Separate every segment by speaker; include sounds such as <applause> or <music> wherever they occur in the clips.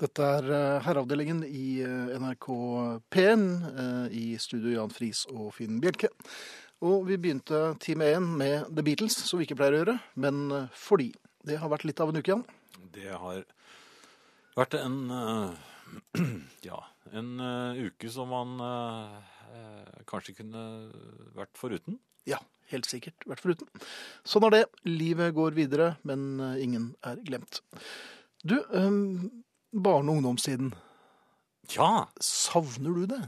Speaker 1: Dette er eh, Herreavdelingen i eh, NRK P1 eh, i studio Jan Friis og Finn Bjelke. Og vi begynte time én med The Beatles, som vi ikke pleier å gjøre, men eh, fordi. Det har vært litt av en uke igjen.
Speaker 2: Det har vært en eh, <clears throat> Ja, en eh, uke som man eh, eh, kanskje kunne vært foruten.
Speaker 1: Ja, helt sikkert vært foruten. Sånn er det. Livet går videre, men eh, ingen er glemt. Du, eh, barne- og ungdomstiden.
Speaker 2: Ja,
Speaker 1: Savner du det?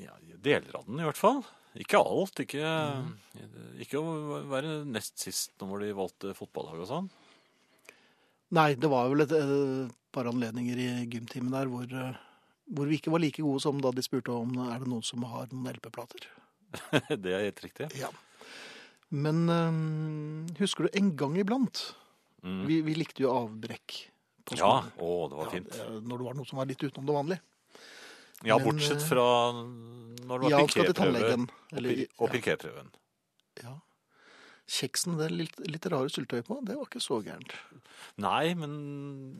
Speaker 2: ja, deler av den i hvert fall. Ikke alt. Ikke,
Speaker 1: Mm.
Speaker 2: ikke å være nest sist når de valgte fotballag og sånn. <laughs>
Speaker 1: Nei, det var vel et eh, par anledninger i gymtimen der hvor, eh, hvor vi ikke var like gode som da de spurte om eh, er det noen som har noen LP-plater.
Speaker 2: Det er helt riktig.
Speaker 1: Ja. Men eh, husker du en gang iblant?
Speaker 2: Mm.
Speaker 1: Vi, vi likte jo avbrekk. på
Speaker 2: Ja,
Speaker 1: skolen.
Speaker 2: å, det var
Speaker 1: Ja,
Speaker 2: fint.
Speaker 1: eh, når det var noe som var litt utenom det vanlige.
Speaker 2: Ja,
Speaker 1: men,
Speaker 2: bortsett
Speaker 1: eh,
Speaker 2: fra når det
Speaker 1: Ja,
Speaker 2: var
Speaker 1: han skal til
Speaker 2: piképrøve.
Speaker 1: tannlegen.
Speaker 2: Og,
Speaker 1: Eller,
Speaker 2: pir- og pirképrøven.
Speaker 1: ja, ja. Kjeksen med det litt, litt rare syltetøyet på, det var ikke så gærent.
Speaker 2: Nei, men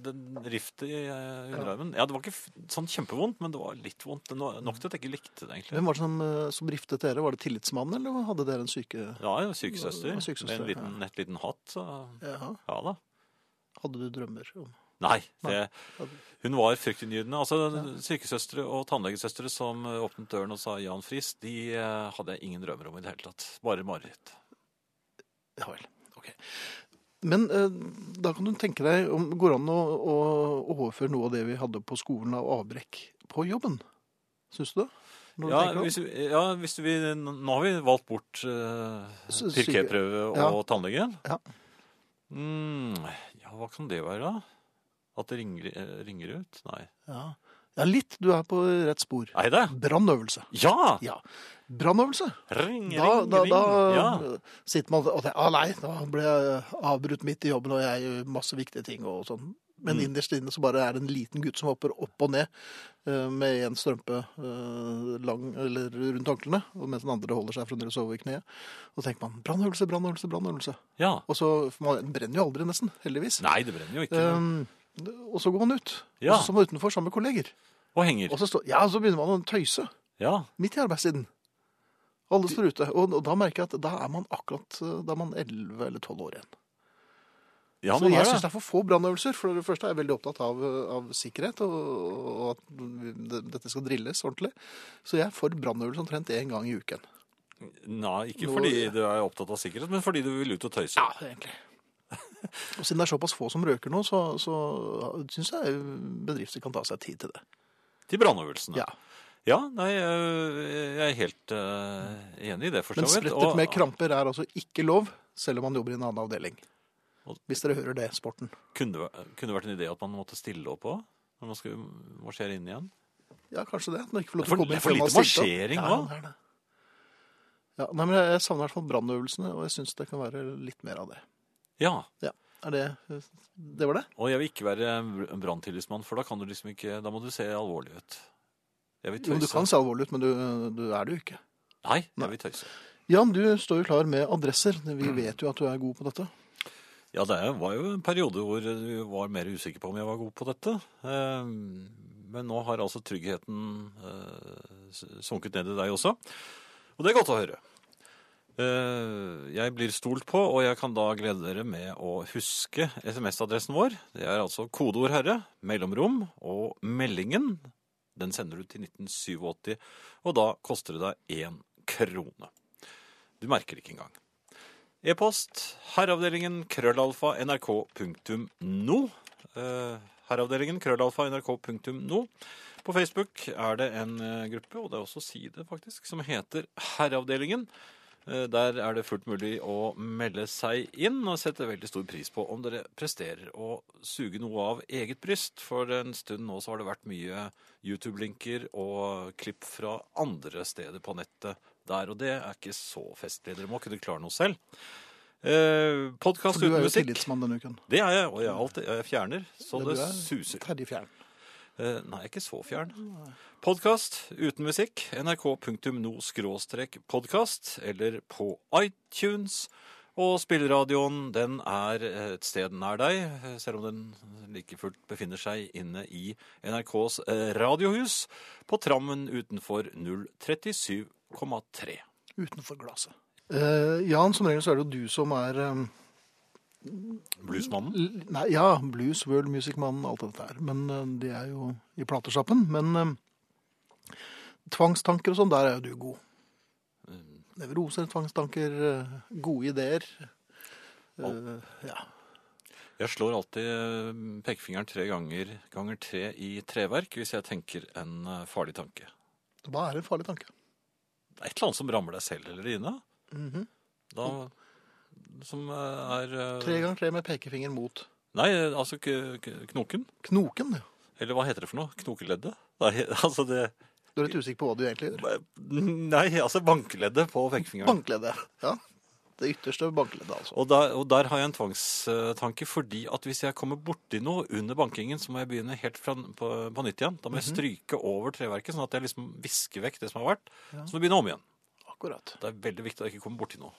Speaker 2: den riftet i eh, underarmen ja. det var ikke f- sånn kjempevondt, men det var litt vondt. Det no- Nok til at jeg ikke likte det, egentlig.
Speaker 1: Hvem var det som, eh, som riftet dere? Var det tillitsmannen, eller hadde dere en syke...
Speaker 2: Ja, jeg var sykesøster.
Speaker 1: Ja, sykesøster,
Speaker 2: Med en liten,
Speaker 1: ja.
Speaker 2: nett liten hatt. Så
Speaker 1: Ja,
Speaker 2: ja da.
Speaker 1: hadde du drømmer om
Speaker 2: Nei, det,
Speaker 1: Nei.
Speaker 2: hun var fryktinngytende. Altså, sykesøstre og tannlegesøstre som eh, åpnet døren og sa Jan Friis, de eh, hadde jeg ingen drømmer om i det hele tatt. Bare mareritt.
Speaker 1: Ja vel. Ok. Men eh, da kan du tenke deg om Går det an å, å overføre noe av det vi hadde på skolen av avbrekk, på jobben? Syns du det? Når du
Speaker 2: Ja,
Speaker 1: tenker deg om?
Speaker 2: hvis, vi- ja hvis vi, nå har vi valgt bort uh,
Speaker 1: Sy- syke-
Speaker 2: pirképrøve og
Speaker 1: Ja.
Speaker 2: tannlege.
Speaker 1: Ja.
Speaker 2: Mm, ja, hva kan det være da? At det ringer, eh, ringer ut? Nei.
Speaker 1: ja. ja, litt. Du er på rett spor.
Speaker 2: Er det?
Speaker 1: Brannøvelse.
Speaker 2: Ja!
Speaker 1: Ja. Brannøvelse.
Speaker 2: Ring,
Speaker 1: Da,
Speaker 2: ring,
Speaker 1: da,
Speaker 2: ring.
Speaker 1: da
Speaker 2: Ja.
Speaker 1: sitter man og tenker Å nei, da ble jeg avbrutt midt i jobben, og jeg gjør masse viktige ting og sånn. Men
Speaker 2: Mm.
Speaker 1: innerst inne så bare er det en liten gutt som hopper opp og ned eh, med én strømpe eh, lang, eller rundt håndklærne, og mens den andre holder seg fremdeles over kneet. Og så tenker man 'brannøvelse, brannøvelse, brannøvelse'.
Speaker 2: ja.
Speaker 1: Og så for Man brenner jo aldri, nesten. Heldigvis.
Speaker 2: Nei, det brenner jo ikke.
Speaker 1: Ehm, og så går man ut.
Speaker 2: Ja.
Speaker 1: Og så står man utenfor sammen med kolleger.
Speaker 2: og henger.
Speaker 1: Og så, står, ja, så begynner man å tøyse.
Speaker 2: Ja.
Speaker 1: Midt i arbeidstiden. Alle står ute. Og, og da merker jeg at da er man akkurat eh, da er man 11 eller 12 år igjen.
Speaker 2: ja,
Speaker 1: så
Speaker 2: man
Speaker 1: jeg
Speaker 2: er
Speaker 1: syns
Speaker 2: det.
Speaker 1: det er for få brannøvelser. For det første er jeg veldig opptatt av, eh, av sikkerhet, og, og at det- dette skal drilles ordentlig. Så jeg er for brannøvelse omtrent én gang i uken.
Speaker 2: Nei, ikke
Speaker 1: Nå-
Speaker 2: fordi du er opptatt av sikkerhet, men fordi du vil ut og tøyse.
Speaker 1: egentlig. <laughs> Og siden det er såpass få som røker nå, så, så syns jeg bedrifter kan ta seg tid til det.
Speaker 2: Til brannøvelsene.
Speaker 1: Ja.
Speaker 2: Ja, nei, øh, jeg er helt øh, enig i det, for så
Speaker 1: Men
Speaker 2: vidt.
Speaker 1: sprettert
Speaker 2: Og-
Speaker 1: med kramper er altså ikke lov, selv om man jobber i en annen avdeling.
Speaker 2: Og-
Speaker 1: Hvis dere hører det, sporten.
Speaker 2: Kunne det væ- kunne det vært en idé at man måtte stille opp òg? Når man skulle marsjere inn igjen?
Speaker 1: Ja, kanskje det. At man ikke får lov til å
Speaker 2: Det er for-
Speaker 1: komme inn
Speaker 2: det er for
Speaker 1: før man
Speaker 2: lite
Speaker 1: har stilt opp.
Speaker 2: marsjering
Speaker 1: ja,
Speaker 2: nå.
Speaker 1: det er det. Ja, nei, men Jeg savner i hvert fall brannøvelsene, og jeg syns det kan være litt mer av det.
Speaker 2: Ja.
Speaker 1: Er det Det var det?
Speaker 2: Og jeg vil ikke være br- branntillitsmann, for da kan du liksom ikke Da må du se alvorlig ut. Jeg vil tøyse.
Speaker 1: Jo, men Du kan se alvorlig ut, men du, du er det jo ikke.
Speaker 2: Nei,
Speaker 1: Nei.
Speaker 2: jeg vil tøyse.
Speaker 1: Jan, du står jo klar med adresser. Vi
Speaker 2: Mm.
Speaker 1: vet jo at du er god på dette.
Speaker 2: Ja, det er- var jo en periode hvor du var mer usikker på om jeg var god på dette. Eh, Men nå har altså tryggheten eh, s- sunket ned i deg også. Og det er godt å høre. Eh, Jeg blir stolt på, og jeg kan da glede dere med å huske SMS-adressen vår. Det er altså kodeord herre, mellomrom og meldingen. Den sender du til 1987, og da koster det deg én krone. Du merker det ikke engang. E-post herreavdelingen krøllalfa nrk.no. Eh, Herreavdelingen krøllalfa nrk.no. På Facebook er det en eh, gruppe, og det er også side, faktisk, som heter Herreavdelingen. Eh, Der er det fullt mulig å melde seg inn, og setter veldig stor pris på om dere presterer å suge noe av eget bryst. For en stund nå så har det vært mye YouTube-linker og klipp fra andre steder på nettet der, og det er ikke så festlig. Dere må kunne klare noe selv. Eh, Podkast
Speaker 1: For du
Speaker 2: uten
Speaker 1: er jo
Speaker 2: musikk,
Speaker 1: tillitsmann denne uken.
Speaker 2: det er jeg, og jeg, er alltid, jeg fjerner så
Speaker 1: Men
Speaker 2: det
Speaker 1: du er-
Speaker 2: suser.
Speaker 1: Terje Fjern.
Speaker 2: Eh, nei, ikke så fjern. Podkast uten musikk. nrk.no podkast eller på iTunes. Og spilleradioen den er eh, et sted nær deg, eh, selv om den like fullt befinner seg inne i NRKs eh, radiohus på Trammen utenfor 037,3.
Speaker 1: Utenfor glaset. Eh, Jan, som regel så er det jo du som er eh,
Speaker 2: Bluesmannen.
Speaker 1: l- Nei, ja, blues, world music-mannen, alt dette her. Men eh, det er jo i platesjappen. Men eh, tvangstanker og sånn, der er jo du god.
Speaker 2: Mm.
Speaker 1: Nevroser, tvangstanker, eh, gode ideer. Eh, ja.
Speaker 2: Jeg slår alltid eh, pekefingeren tre ganger ganger tre i treverk hvis jeg tenker en eh, farlig tanke.
Speaker 1: Hva er en farlig tanke?
Speaker 2: Det er et eller annet som rammer deg selv eller dine.
Speaker 1: Mhm.
Speaker 2: Da, som eh, er eh,
Speaker 1: Tre ganger tre med pekefinger mot
Speaker 2: Nei, eh, altså k- k- knoken.
Speaker 1: knoken. ja.
Speaker 2: Eller hva heter det for noe? Knokeleddet? Nei, <laughs> altså det
Speaker 1: Du er litt usikker på hva du egentlig gjør.
Speaker 2: Nei, altså bankeleddet på pekefingeren.
Speaker 1: Bankleddet. Ja. Det ytterste bankleddet, altså.
Speaker 2: Og der, og der har jeg en tvangstanke, fordi at hvis jeg kommer borti noe under bankingen, så må jeg begynne helt fra, på, på nytt igjen. Da må jeg stryke over treverket, sånn at jeg liksom visker vekk det som har vært. Så må jeg begynne om igjen.
Speaker 1: Akkurat.
Speaker 2: Det er veldig viktig at jeg ikke kommer borti noe.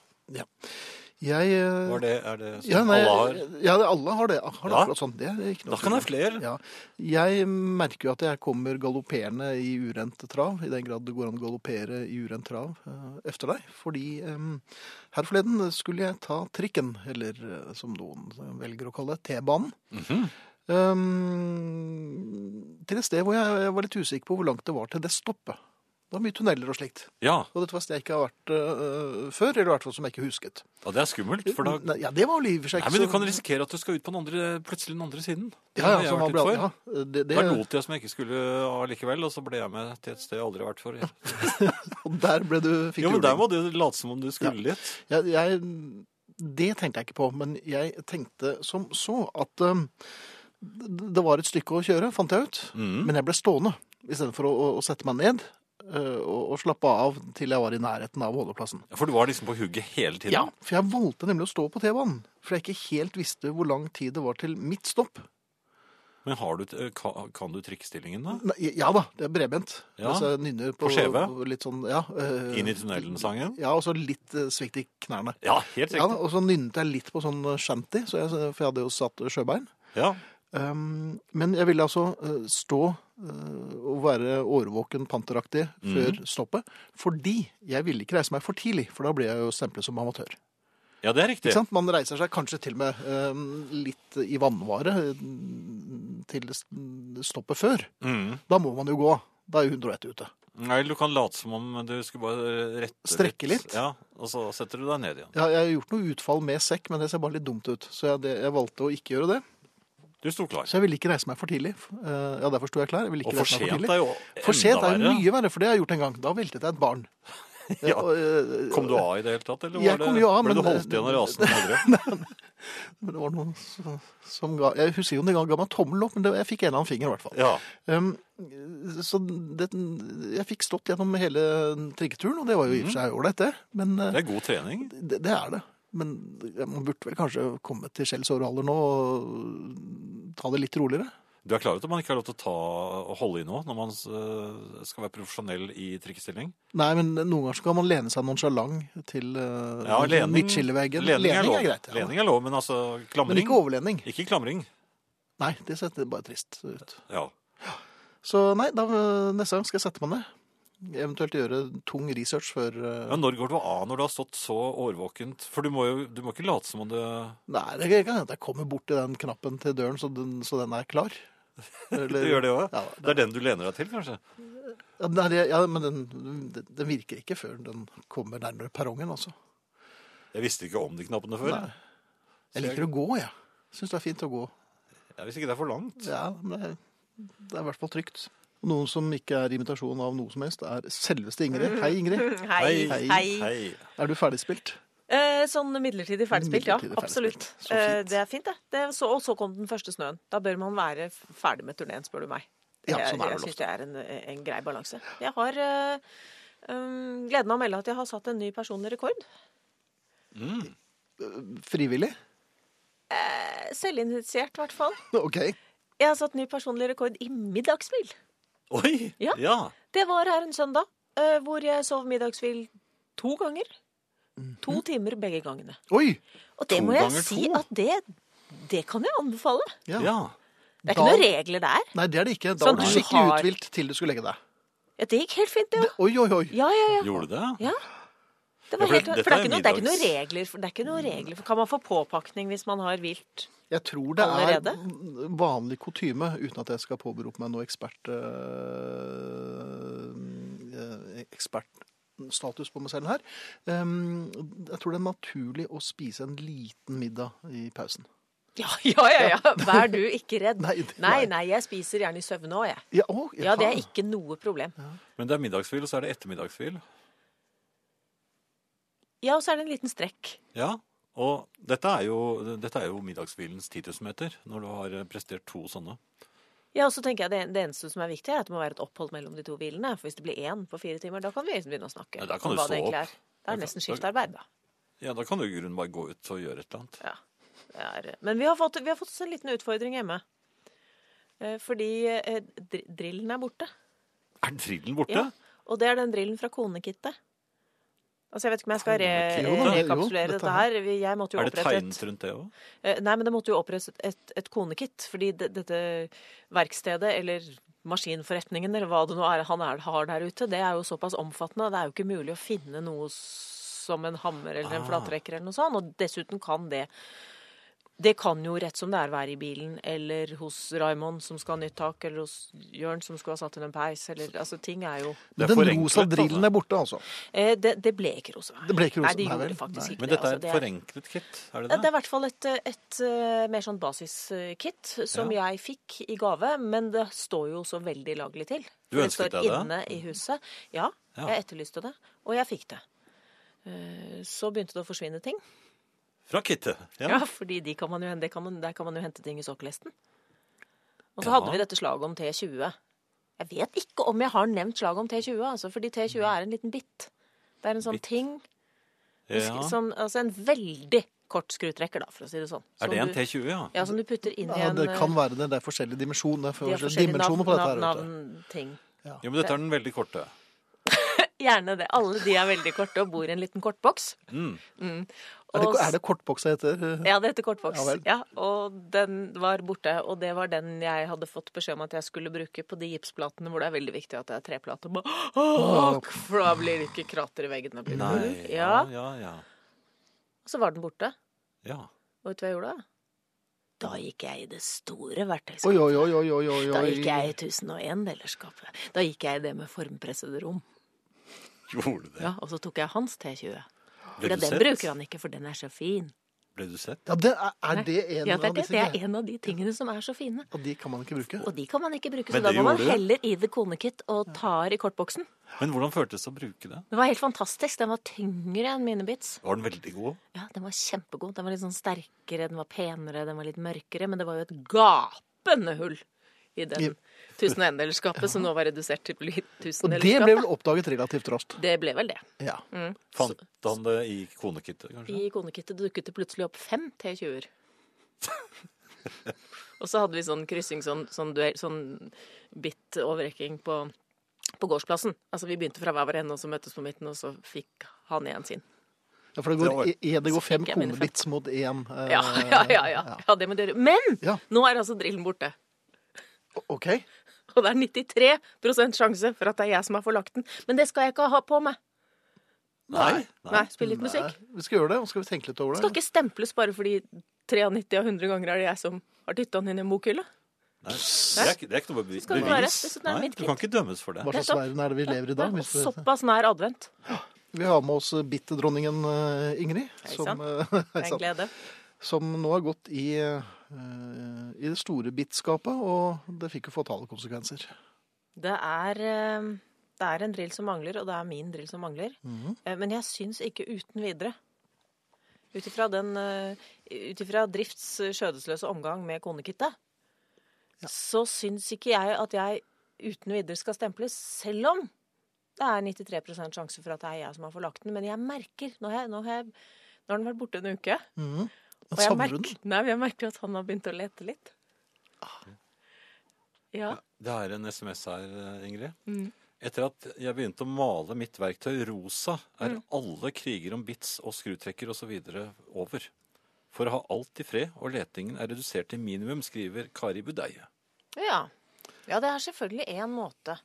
Speaker 1: Jeg eh,
Speaker 2: Var det, er det som
Speaker 1: ja, nei, eh,
Speaker 2: alle har?
Speaker 1: ja, det- alle har det, har det
Speaker 2: Ja.
Speaker 1: akkurat sånn. Det er ikke noe
Speaker 2: Da kan det være flere.
Speaker 1: Ja. Jeg merker jo at jeg kommer galopperende i urent trav, i den grad det går an å galoppere i urent trav eh, efter deg. Fordi eh, her forleden skulle jeg ta trikken, eller eh, som noen velger å kalle det, T-banen.
Speaker 2: Mhm.
Speaker 1: Eh, til et sted hvor jeg, jeg var litt usikker på hvor langt det var til det stoppet. Det var mye tunneler og slikt.
Speaker 2: Ja,
Speaker 1: Og dette var et sted jeg ikke har vært eh, før, eller i hvert fall som jeg ikke husket.
Speaker 2: og det er skummelt, for da
Speaker 1: Nei, ja, det var jo livet seg
Speaker 2: Nei, men Du kan risikere at du skal ut på den andre, plutselig den andre siden. Det
Speaker 1: ja,
Speaker 2: har
Speaker 1: ja,
Speaker 2: jeg
Speaker 1: så man
Speaker 2: vært
Speaker 1: ble,
Speaker 2: litt for.
Speaker 1: ja, eh, det, det,
Speaker 2: Der lot jeg som jeg ikke skulle allikevel, og så ble jeg med til et sted jeg aldri har vært før.
Speaker 1: og <laughs> der ble du fikk
Speaker 2: Jo,
Speaker 1: du
Speaker 2: men Der
Speaker 1: juling.
Speaker 2: må du late som om du skulle litt.
Speaker 1: Jeg, jeg, det tenkte jeg ikke på, men jeg tenkte som så at um, d- det var et stykke å kjøre, fant jeg ut.
Speaker 2: Mm.
Speaker 1: Men jeg ble stående istedenfor å, å, å sette meg ned uh, og, og slappe av til jeg var i nærheten av holdeplassen.
Speaker 2: For du var liksom på hugget hele tiden?
Speaker 1: Ja, for jeg valgte nemlig å stå på T-banen, for jeg ikke helt visste hvor lang tid det var til mitt stopp.
Speaker 2: Men har du, et- eh, ka- kan du trikkestillingen, da?
Speaker 1: Nei, ja da, det er bredbent.
Speaker 2: Ja.
Speaker 1: Altså, jeg nynner på,
Speaker 2: På skjeve?
Speaker 1: Litt sånn, ja, uh,
Speaker 2: Inn i tunnelen-sangen?
Speaker 1: Ja, og så litt eh, svikt i knærne.
Speaker 2: Ja, helt
Speaker 1: Ja, da,
Speaker 2: riktig.
Speaker 1: og så nynnet jeg litt på sånn eh, shanty, så jeg, for jeg hadde jo satt sjøbein.
Speaker 2: Ja,
Speaker 1: Um, men jeg ville altså eh, stå eh, og være årvåken panteraktig
Speaker 2: Mhm.
Speaker 1: før stoppet, fordi jeg ville ikke reise meg for tidlig, for da ble jeg jo stemplet som amatør.
Speaker 2: ja det er riktig.
Speaker 1: Ikke sant? Man reiser seg kanskje til og med eh, litt i vannvare eh, til s- stoppet før.
Speaker 2: Mm.
Speaker 1: Da må man jo gå. Da er jo 101 ute.
Speaker 2: Nei, du kan late som om du skulle bare rette
Speaker 1: Strekke litt.
Speaker 2: Ja, Og så setter du deg ned igjen.
Speaker 1: Ja, jeg har gjort noe utfall med sekk, men det ser bare litt dumt ut. Så jeg, det, jeg valgte å ikke gjøre det.
Speaker 2: Du sto klar.
Speaker 1: Så jeg ville ikke reise meg for tidlig. Eh, Ja, derfor sto jeg klar. Jeg ville ikke
Speaker 2: Og for
Speaker 1: reise meg for
Speaker 2: sent
Speaker 1: tidlig.
Speaker 2: er jo
Speaker 1: For sent er jo
Speaker 2: enda verre.
Speaker 1: mye verre, for det har jeg gjort en gang. Da veltet jeg et barn.
Speaker 2: <laughs> Ja.
Speaker 1: Og, eh,
Speaker 2: Kom du av i det hele tatt, eller
Speaker 1: Jeg
Speaker 2: var det,
Speaker 1: kom jo av,
Speaker 2: ble
Speaker 1: men-
Speaker 2: du holdt igjen av
Speaker 1: <laughs>
Speaker 2: rasende andre?
Speaker 1: men Det var noen som- som ga Jeg husker jo om de ga meg tommel opp, men det, jeg fikk en eller annen finger i hvert fall.
Speaker 2: Ja.
Speaker 1: Um, så det, jeg fikk stått gjennom hele trikketuren, og det var jo i og for
Speaker 2: Mm.
Speaker 1: seg ålreit, det. Men eh,
Speaker 2: Det er god trening.
Speaker 1: det, det er det. Men man burde vel kanskje komme til skjells over alder nå og ta det litt roligere.
Speaker 2: Du er klar over at man ikke har lov til å ta og holde i noe når man eh, skal være profesjonell i trikkestilling?
Speaker 1: Nei, men noen ganger så kan man lene seg nonchalant til uh,
Speaker 2: Ja, lening-
Speaker 1: midtskilleveggen.
Speaker 2: Lening er lov,
Speaker 1: greit. Ja.
Speaker 2: lening er lov men altså
Speaker 1: Men
Speaker 2: klamring
Speaker 1: ikke overledning.
Speaker 2: ikke klamring.
Speaker 1: Nei, det setter bare trist ut.
Speaker 2: Ja.
Speaker 1: Så nei, da, øh, neste gang skal jeg sette meg ned. Eventuelt gjøre tung research før øh,
Speaker 2: Men når går du av når du har stått så årvåkent? For du må jo du må ikke late som om du
Speaker 1: Nei, det kan hende at jeg kommer bort til den knappen til døren, så den, så den er klar.
Speaker 2: <laughs> Du gjør det òg?
Speaker 1: Ja,
Speaker 2: Det er den du lener deg til, kanskje?
Speaker 1: Ja, nei, det- ja, men den, den den virker ikke før den kommer nærmere perrongen, altså.
Speaker 2: Jeg visste ikke om de knappene før.
Speaker 1: Nei. Jeg liker å gå, jeg. Ja. Syns det er fint å gå.
Speaker 2: Ja, Hvis ikke det er for langt.
Speaker 1: Ja, men det, det er i hvert fall trygt. Noen som ikke er imitasjon av noe som helst, er selveste Ingrid. Hei, Ingrid.
Speaker 2: <laughs> Hei,
Speaker 3: Hei. Hei.
Speaker 2: Hei.
Speaker 1: Er du ferdigspilt?
Speaker 3: Eh, sånn midlertidig ferdigspilt, ja.
Speaker 1: Midlertidig
Speaker 3: Absolutt.
Speaker 1: ferdigspilt. Så fint.
Speaker 3: Eh, det er fint, det. det så, og så kom den første snøen. Da bør man være f- ferdig med turneen, spør du meg.
Speaker 1: Ja,
Speaker 3: Jeg-
Speaker 1: sånn er det
Speaker 3: jeg
Speaker 1: vel
Speaker 3: syns det er en, en grei balanse. Jeg har eh, um, gleden av å melde at jeg har satt en ny personlig rekord.
Speaker 1: Frivillig?
Speaker 3: Eh, Selvinitiert, i hvert fall.
Speaker 1: OK.
Speaker 3: Jeg har satt ny personlig rekord i middagsspill.
Speaker 2: Oi!
Speaker 3: Ja.
Speaker 2: Ja.
Speaker 3: Det var her en søndag, eh, hvor jeg sov middagsspill to ganger.
Speaker 1: Mhm.
Speaker 3: To timer begge gangene.
Speaker 1: Oi!
Speaker 3: Og det
Speaker 2: To
Speaker 3: må jeg
Speaker 2: ganger
Speaker 3: si
Speaker 2: to?
Speaker 3: at det, det kan jeg anbefale.
Speaker 1: Ja.
Speaker 2: Ja.
Speaker 3: Det er
Speaker 1: Da-
Speaker 3: ikke noen regler der.
Speaker 1: Nei, det er det ikke. Da
Speaker 3: Sånn
Speaker 1: var du
Speaker 3: at du
Speaker 1: skikkelig
Speaker 3: har-
Speaker 1: uthvilt til du skulle legge deg.
Speaker 3: Ja, det gikk helt fint, det
Speaker 1: Det,
Speaker 3: òg.
Speaker 1: oi, oi, oi.
Speaker 3: Ja, ja, ja.
Speaker 2: Gjorde det?
Speaker 3: Ja. Det
Speaker 2: Ja,
Speaker 3: var
Speaker 2: for
Speaker 3: helt,
Speaker 2: dette
Speaker 3: for det er
Speaker 2: er
Speaker 3: ikke noe, det er ikke noe
Speaker 2: middags-
Speaker 3: regler. For, det er ikke noe regler for, kan man få påpakning hvis man har vilt?
Speaker 1: Jeg tror det er
Speaker 3: Allerede?
Speaker 1: vanlig kutyme, uten at jeg skal påberope meg noe ekspert... eh, eh, ekspertstatus på meg selv her. Ehm, jeg tror det er naturlig å spise en liten middag i pausen.
Speaker 3: Ja, ja, ja, ja. Vær du ikke redd.
Speaker 1: Nei, det-
Speaker 3: nei, nei, jeg spiser gjerne i søvne òg, jeg.
Speaker 1: Ja, å,
Speaker 3: Ja, det er
Speaker 1: jaha.
Speaker 3: ikke noe problem.
Speaker 2: Men det er middagshvil, og så er det ettermiddagshvil.
Speaker 3: Ja, og så er det en liten strekk.
Speaker 2: Ja, og dette er jo, dette er jo middagshvilens 10 000 meter, når du har prestert to sånne.
Speaker 3: Ja, og så tenker jeg det, det eneste som er viktig, er at det må være et opphold mellom de to hvilene. For hvis det blir én på fire timer, da kan vi liksom begynne å snakke.
Speaker 2: Ja, da kan
Speaker 3: om
Speaker 2: du
Speaker 3: hva det
Speaker 2: stå
Speaker 3: egentlig
Speaker 2: opp.
Speaker 3: er. Det er nesten skiftarbeid, da.
Speaker 2: Ja, da kan du i grunnen bare gå ut og gjøre et eller annet.
Speaker 3: Ja, det er, eh, men vi har, fått, vi har fått oss en liten utfordring hjemme. Eh, Fordi eh, dr- drillen er borte.
Speaker 2: Er drillen borte?
Speaker 3: Ja, og det er den drillen fra konekittet. Altså, Jeg vet ikke om jeg skal re
Speaker 1: Jo, da, jo,
Speaker 3: rekapitulere
Speaker 1: dette
Speaker 3: dette her. Vi- Jeg måtte jo
Speaker 2: Er det
Speaker 3: opprette
Speaker 2: tegnet
Speaker 3: et,
Speaker 2: rundt det òg?
Speaker 3: eh, nei, men det måtte jo opprettes et, et konekitt, fordi det, dette verkstedet eller maskinforretningen eller hva det nå er han er, har der ute, det er jo såpass omfattende. Det er jo ikke mulig å finne noe som en hammer eller en
Speaker 2: Ah.
Speaker 3: flattrekker eller noe sånt. Og dessuten kan det det kan jo rett som det er være i bilen, eller hos Raymond som skal ha nytt tak, eller hos Jørn som skulle ha satt inn en peis, eller altså ting er jo
Speaker 2: Det er
Speaker 1: Den
Speaker 2: forenklet,
Speaker 1: rosa drillen
Speaker 2: altså.
Speaker 1: er borte, altså.
Speaker 3: Eh, det, det ble ikke rosa.
Speaker 1: Det ble ikke rosa,
Speaker 3: Nei, de
Speaker 1: nei
Speaker 3: gjorde
Speaker 1: vel,
Speaker 3: faktisk
Speaker 1: nei.
Speaker 3: ikke
Speaker 2: Men dette er
Speaker 3: altså,
Speaker 2: et forenklet kit, er
Speaker 3: Ja,
Speaker 2: det
Speaker 3: det
Speaker 2: det?
Speaker 3: er i hvert fall et, eh, et eh, mer sånn basiskit som jeg fikk i gave, men det står jo så veldig laglig til.
Speaker 2: Du
Speaker 3: For
Speaker 2: ønsket
Speaker 3: det?
Speaker 2: deg
Speaker 3: står
Speaker 2: det? Mm.
Speaker 3: inne i huset. Ja,
Speaker 2: Ja.
Speaker 3: jeg etterlyste det, og jeg fikk det. Eh, Så begynte det å forsvinne ting.
Speaker 2: Fra kittet.
Speaker 3: Ja,
Speaker 2: Ja.
Speaker 3: fordi de kan man jo, det kan man, der kan man jo hente ting i sokkelesten. Og så
Speaker 2: Ja.
Speaker 3: hadde vi dette slaget om T20. Jeg vet ikke om jeg har nevnt slaget om T20, altså, fordi T20 er en liten bit. Det er en
Speaker 2: Mm.
Speaker 3: sånn
Speaker 2: Bit.
Speaker 3: ting
Speaker 2: ja.
Speaker 3: som Altså en veldig kort skrutrekker, da, for å si det sånn.
Speaker 2: Er det en
Speaker 3: T20?
Speaker 2: T20, ja?
Speaker 3: Ja, som du putter inn i
Speaker 1: Ja,
Speaker 3: en
Speaker 1: det
Speaker 3: eh,
Speaker 1: kan være det. Det er forskjellige dimensjoner. Det
Speaker 3: de
Speaker 1: er forskjellige
Speaker 3: har forskjellige
Speaker 1: dimensjoner
Speaker 3: navn,
Speaker 1: på dette her. vet du.
Speaker 3: navn, ting.
Speaker 2: Jo, men dette er den veldig korte.
Speaker 3: Gjerne det. Alle de er veldig korte og bor i en liten kortboks.
Speaker 2: Mm.
Speaker 1: Er det,
Speaker 3: Og
Speaker 1: er det kortboks det heter?
Speaker 3: Ja, det heter kortboks.
Speaker 1: Ja
Speaker 3: Ja,
Speaker 1: vel.
Speaker 3: og den var borte, og det var den jeg hadde fått beskjed om at jeg skulle bruke på de gipsplatene hvor det er veldig viktig at det er treplate. Bare, «Åh, For da blir det ikke krater i veggene. Blir det
Speaker 2: Nei, ja,
Speaker 3: hull?» ja.
Speaker 2: ja, ja.
Speaker 3: Og så var den borte.
Speaker 2: ja.
Speaker 3: Og vet du hva jeg gjorde da? Da gikk jeg i det store
Speaker 1: Oi,
Speaker 3: verktøyskapet.
Speaker 1: oi, oi, oi, oi, oi.
Speaker 3: Da gikk jeg i 1001-delerskapet. Da gikk jeg i det med formppressede rom.
Speaker 2: Gjorde du det?
Speaker 3: Ja, og så tok jeg hans T20. For
Speaker 2: Ble du
Speaker 3: den
Speaker 2: sett?
Speaker 3: bruker han ikke, for den er så fin.
Speaker 2: Ble du sett?
Speaker 1: Ja, det er, er det en
Speaker 3: Ja, det, er
Speaker 1: av
Speaker 3: det,
Speaker 1: disse
Speaker 3: det er
Speaker 1: greiene?
Speaker 3: en av de tingene som er så fine.
Speaker 1: Og de kan man ikke bruke.
Speaker 3: Og de kan man ikke bruke, så
Speaker 2: Men
Speaker 3: da
Speaker 2: det
Speaker 3: må man
Speaker 2: gjorde du.
Speaker 3: heller i det konekitt og tar i kortboksen.
Speaker 2: Men hvordan føltes det å bruke det?
Speaker 3: Den var helt fantastisk. Den var tyngre enn mine bits.
Speaker 2: Var den veldig god?
Speaker 3: Ja, den var kjempegod. Den var litt sånn sterkere, den var penere, den var litt mørkere, men det var jo et gapende hull i den tusen og en-delskapet som nå var redusert til
Speaker 1: Og det ble vel
Speaker 3: tusendelskapet.
Speaker 1: oppdaget relativt raskt.
Speaker 3: Det ble vel det.
Speaker 1: Ja.
Speaker 3: Mm.
Speaker 2: Fant han det i konekittet, kanskje?
Speaker 3: I konekittet dukket det plutselig opp fem T20-er. <laughs> og så hadde vi sånn kryssing, sånn, sånn, duell- sånn bit-overrekking på, på gårdsplassen. Altså vi begynte fra hver vår ende, og så møttes på midten, og så fikk han igjen sin.
Speaker 1: ja for det
Speaker 2: Det var-
Speaker 1: går, e- det går fem
Speaker 3: Fikk jeg mine fem.
Speaker 1: konebits mot én. eh,
Speaker 3: Ja, <laughs> ja, ja. ja. ja det må dere. Men
Speaker 1: Ja.
Speaker 3: nå er altså drillen borte.
Speaker 1: OK.
Speaker 3: Og det er 93 sjanse for at det er jeg som har forlagt den. Men det skal jeg ikke ha på meg.
Speaker 2: Nei.
Speaker 3: Nei, Spill litt musikk.
Speaker 1: Nei, vi skal gjøre det, og så skal vi tenke litt over
Speaker 3: Skal
Speaker 1: det.
Speaker 3: ikke stemples bare fordi 93 av 100 ganger er det jeg som har dytta den inn i en bokhylle.
Speaker 2: Nei. Det, er, ikke- det er ikke noe bevis.
Speaker 3: skal det være. Dessuten er
Speaker 2: Nei,
Speaker 3: det mitt
Speaker 2: du kan ikke dømmes for det.
Speaker 1: Hva slags
Speaker 3: Nettopp.
Speaker 1: verden er det vi lever i da?
Speaker 3: Nei, og
Speaker 1: Hvis vi,
Speaker 3: Såpass nær advent.
Speaker 1: vi har med oss bitterdronningen eh, Ingrid,
Speaker 3: Hei
Speaker 1: som,
Speaker 3: sann.
Speaker 1: eh, <laughs> hei
Speaker 3: Det er en
Speaker 1: sann,
Speaker 3: glede.
Speaker 1: som nå har gått i, eh, i det store bitskapet, og det fikk jo fatale konsekvenser.
Speaker 3: Det er, eh, det er en drill som mangler, og det er min drill som mangler.
Speaker 1: Mhm.
Speaker 3: Eh, Men jeg syns ikke uten videre. Ut ifra den, eh, ut ifra drifts skjødesløse omgang med konekittet, så syns ikke jeg at jeg uten videre skal stemples, selv om det er 93 sjanse for at det er jeg som har forlagt den. Men jeg merker Nå har, jeg, nå har, jeg, nå har den vært borte en uke.
Speaker 1: Mhm.
Speaker 3: Og jeg
Speaker 1: Savner du
Speaker 3: merker,
Speaker 1: den? Ah.
Speaker 3: nei, men jeg merker at han har begynt å lete litt. Ja.
Speaker 2: Det er en SMS her, eh, Ingrid. Etter at jeg begynte å male mitt verktøy rosa, er alle kriger om bits og skrutrekker osv. over. For å ha alt i fred, og letingen er redusert til minimum, skriver Kari Budeie.
Speaker 3: Ja. ja, det er selvfølgelig én måte.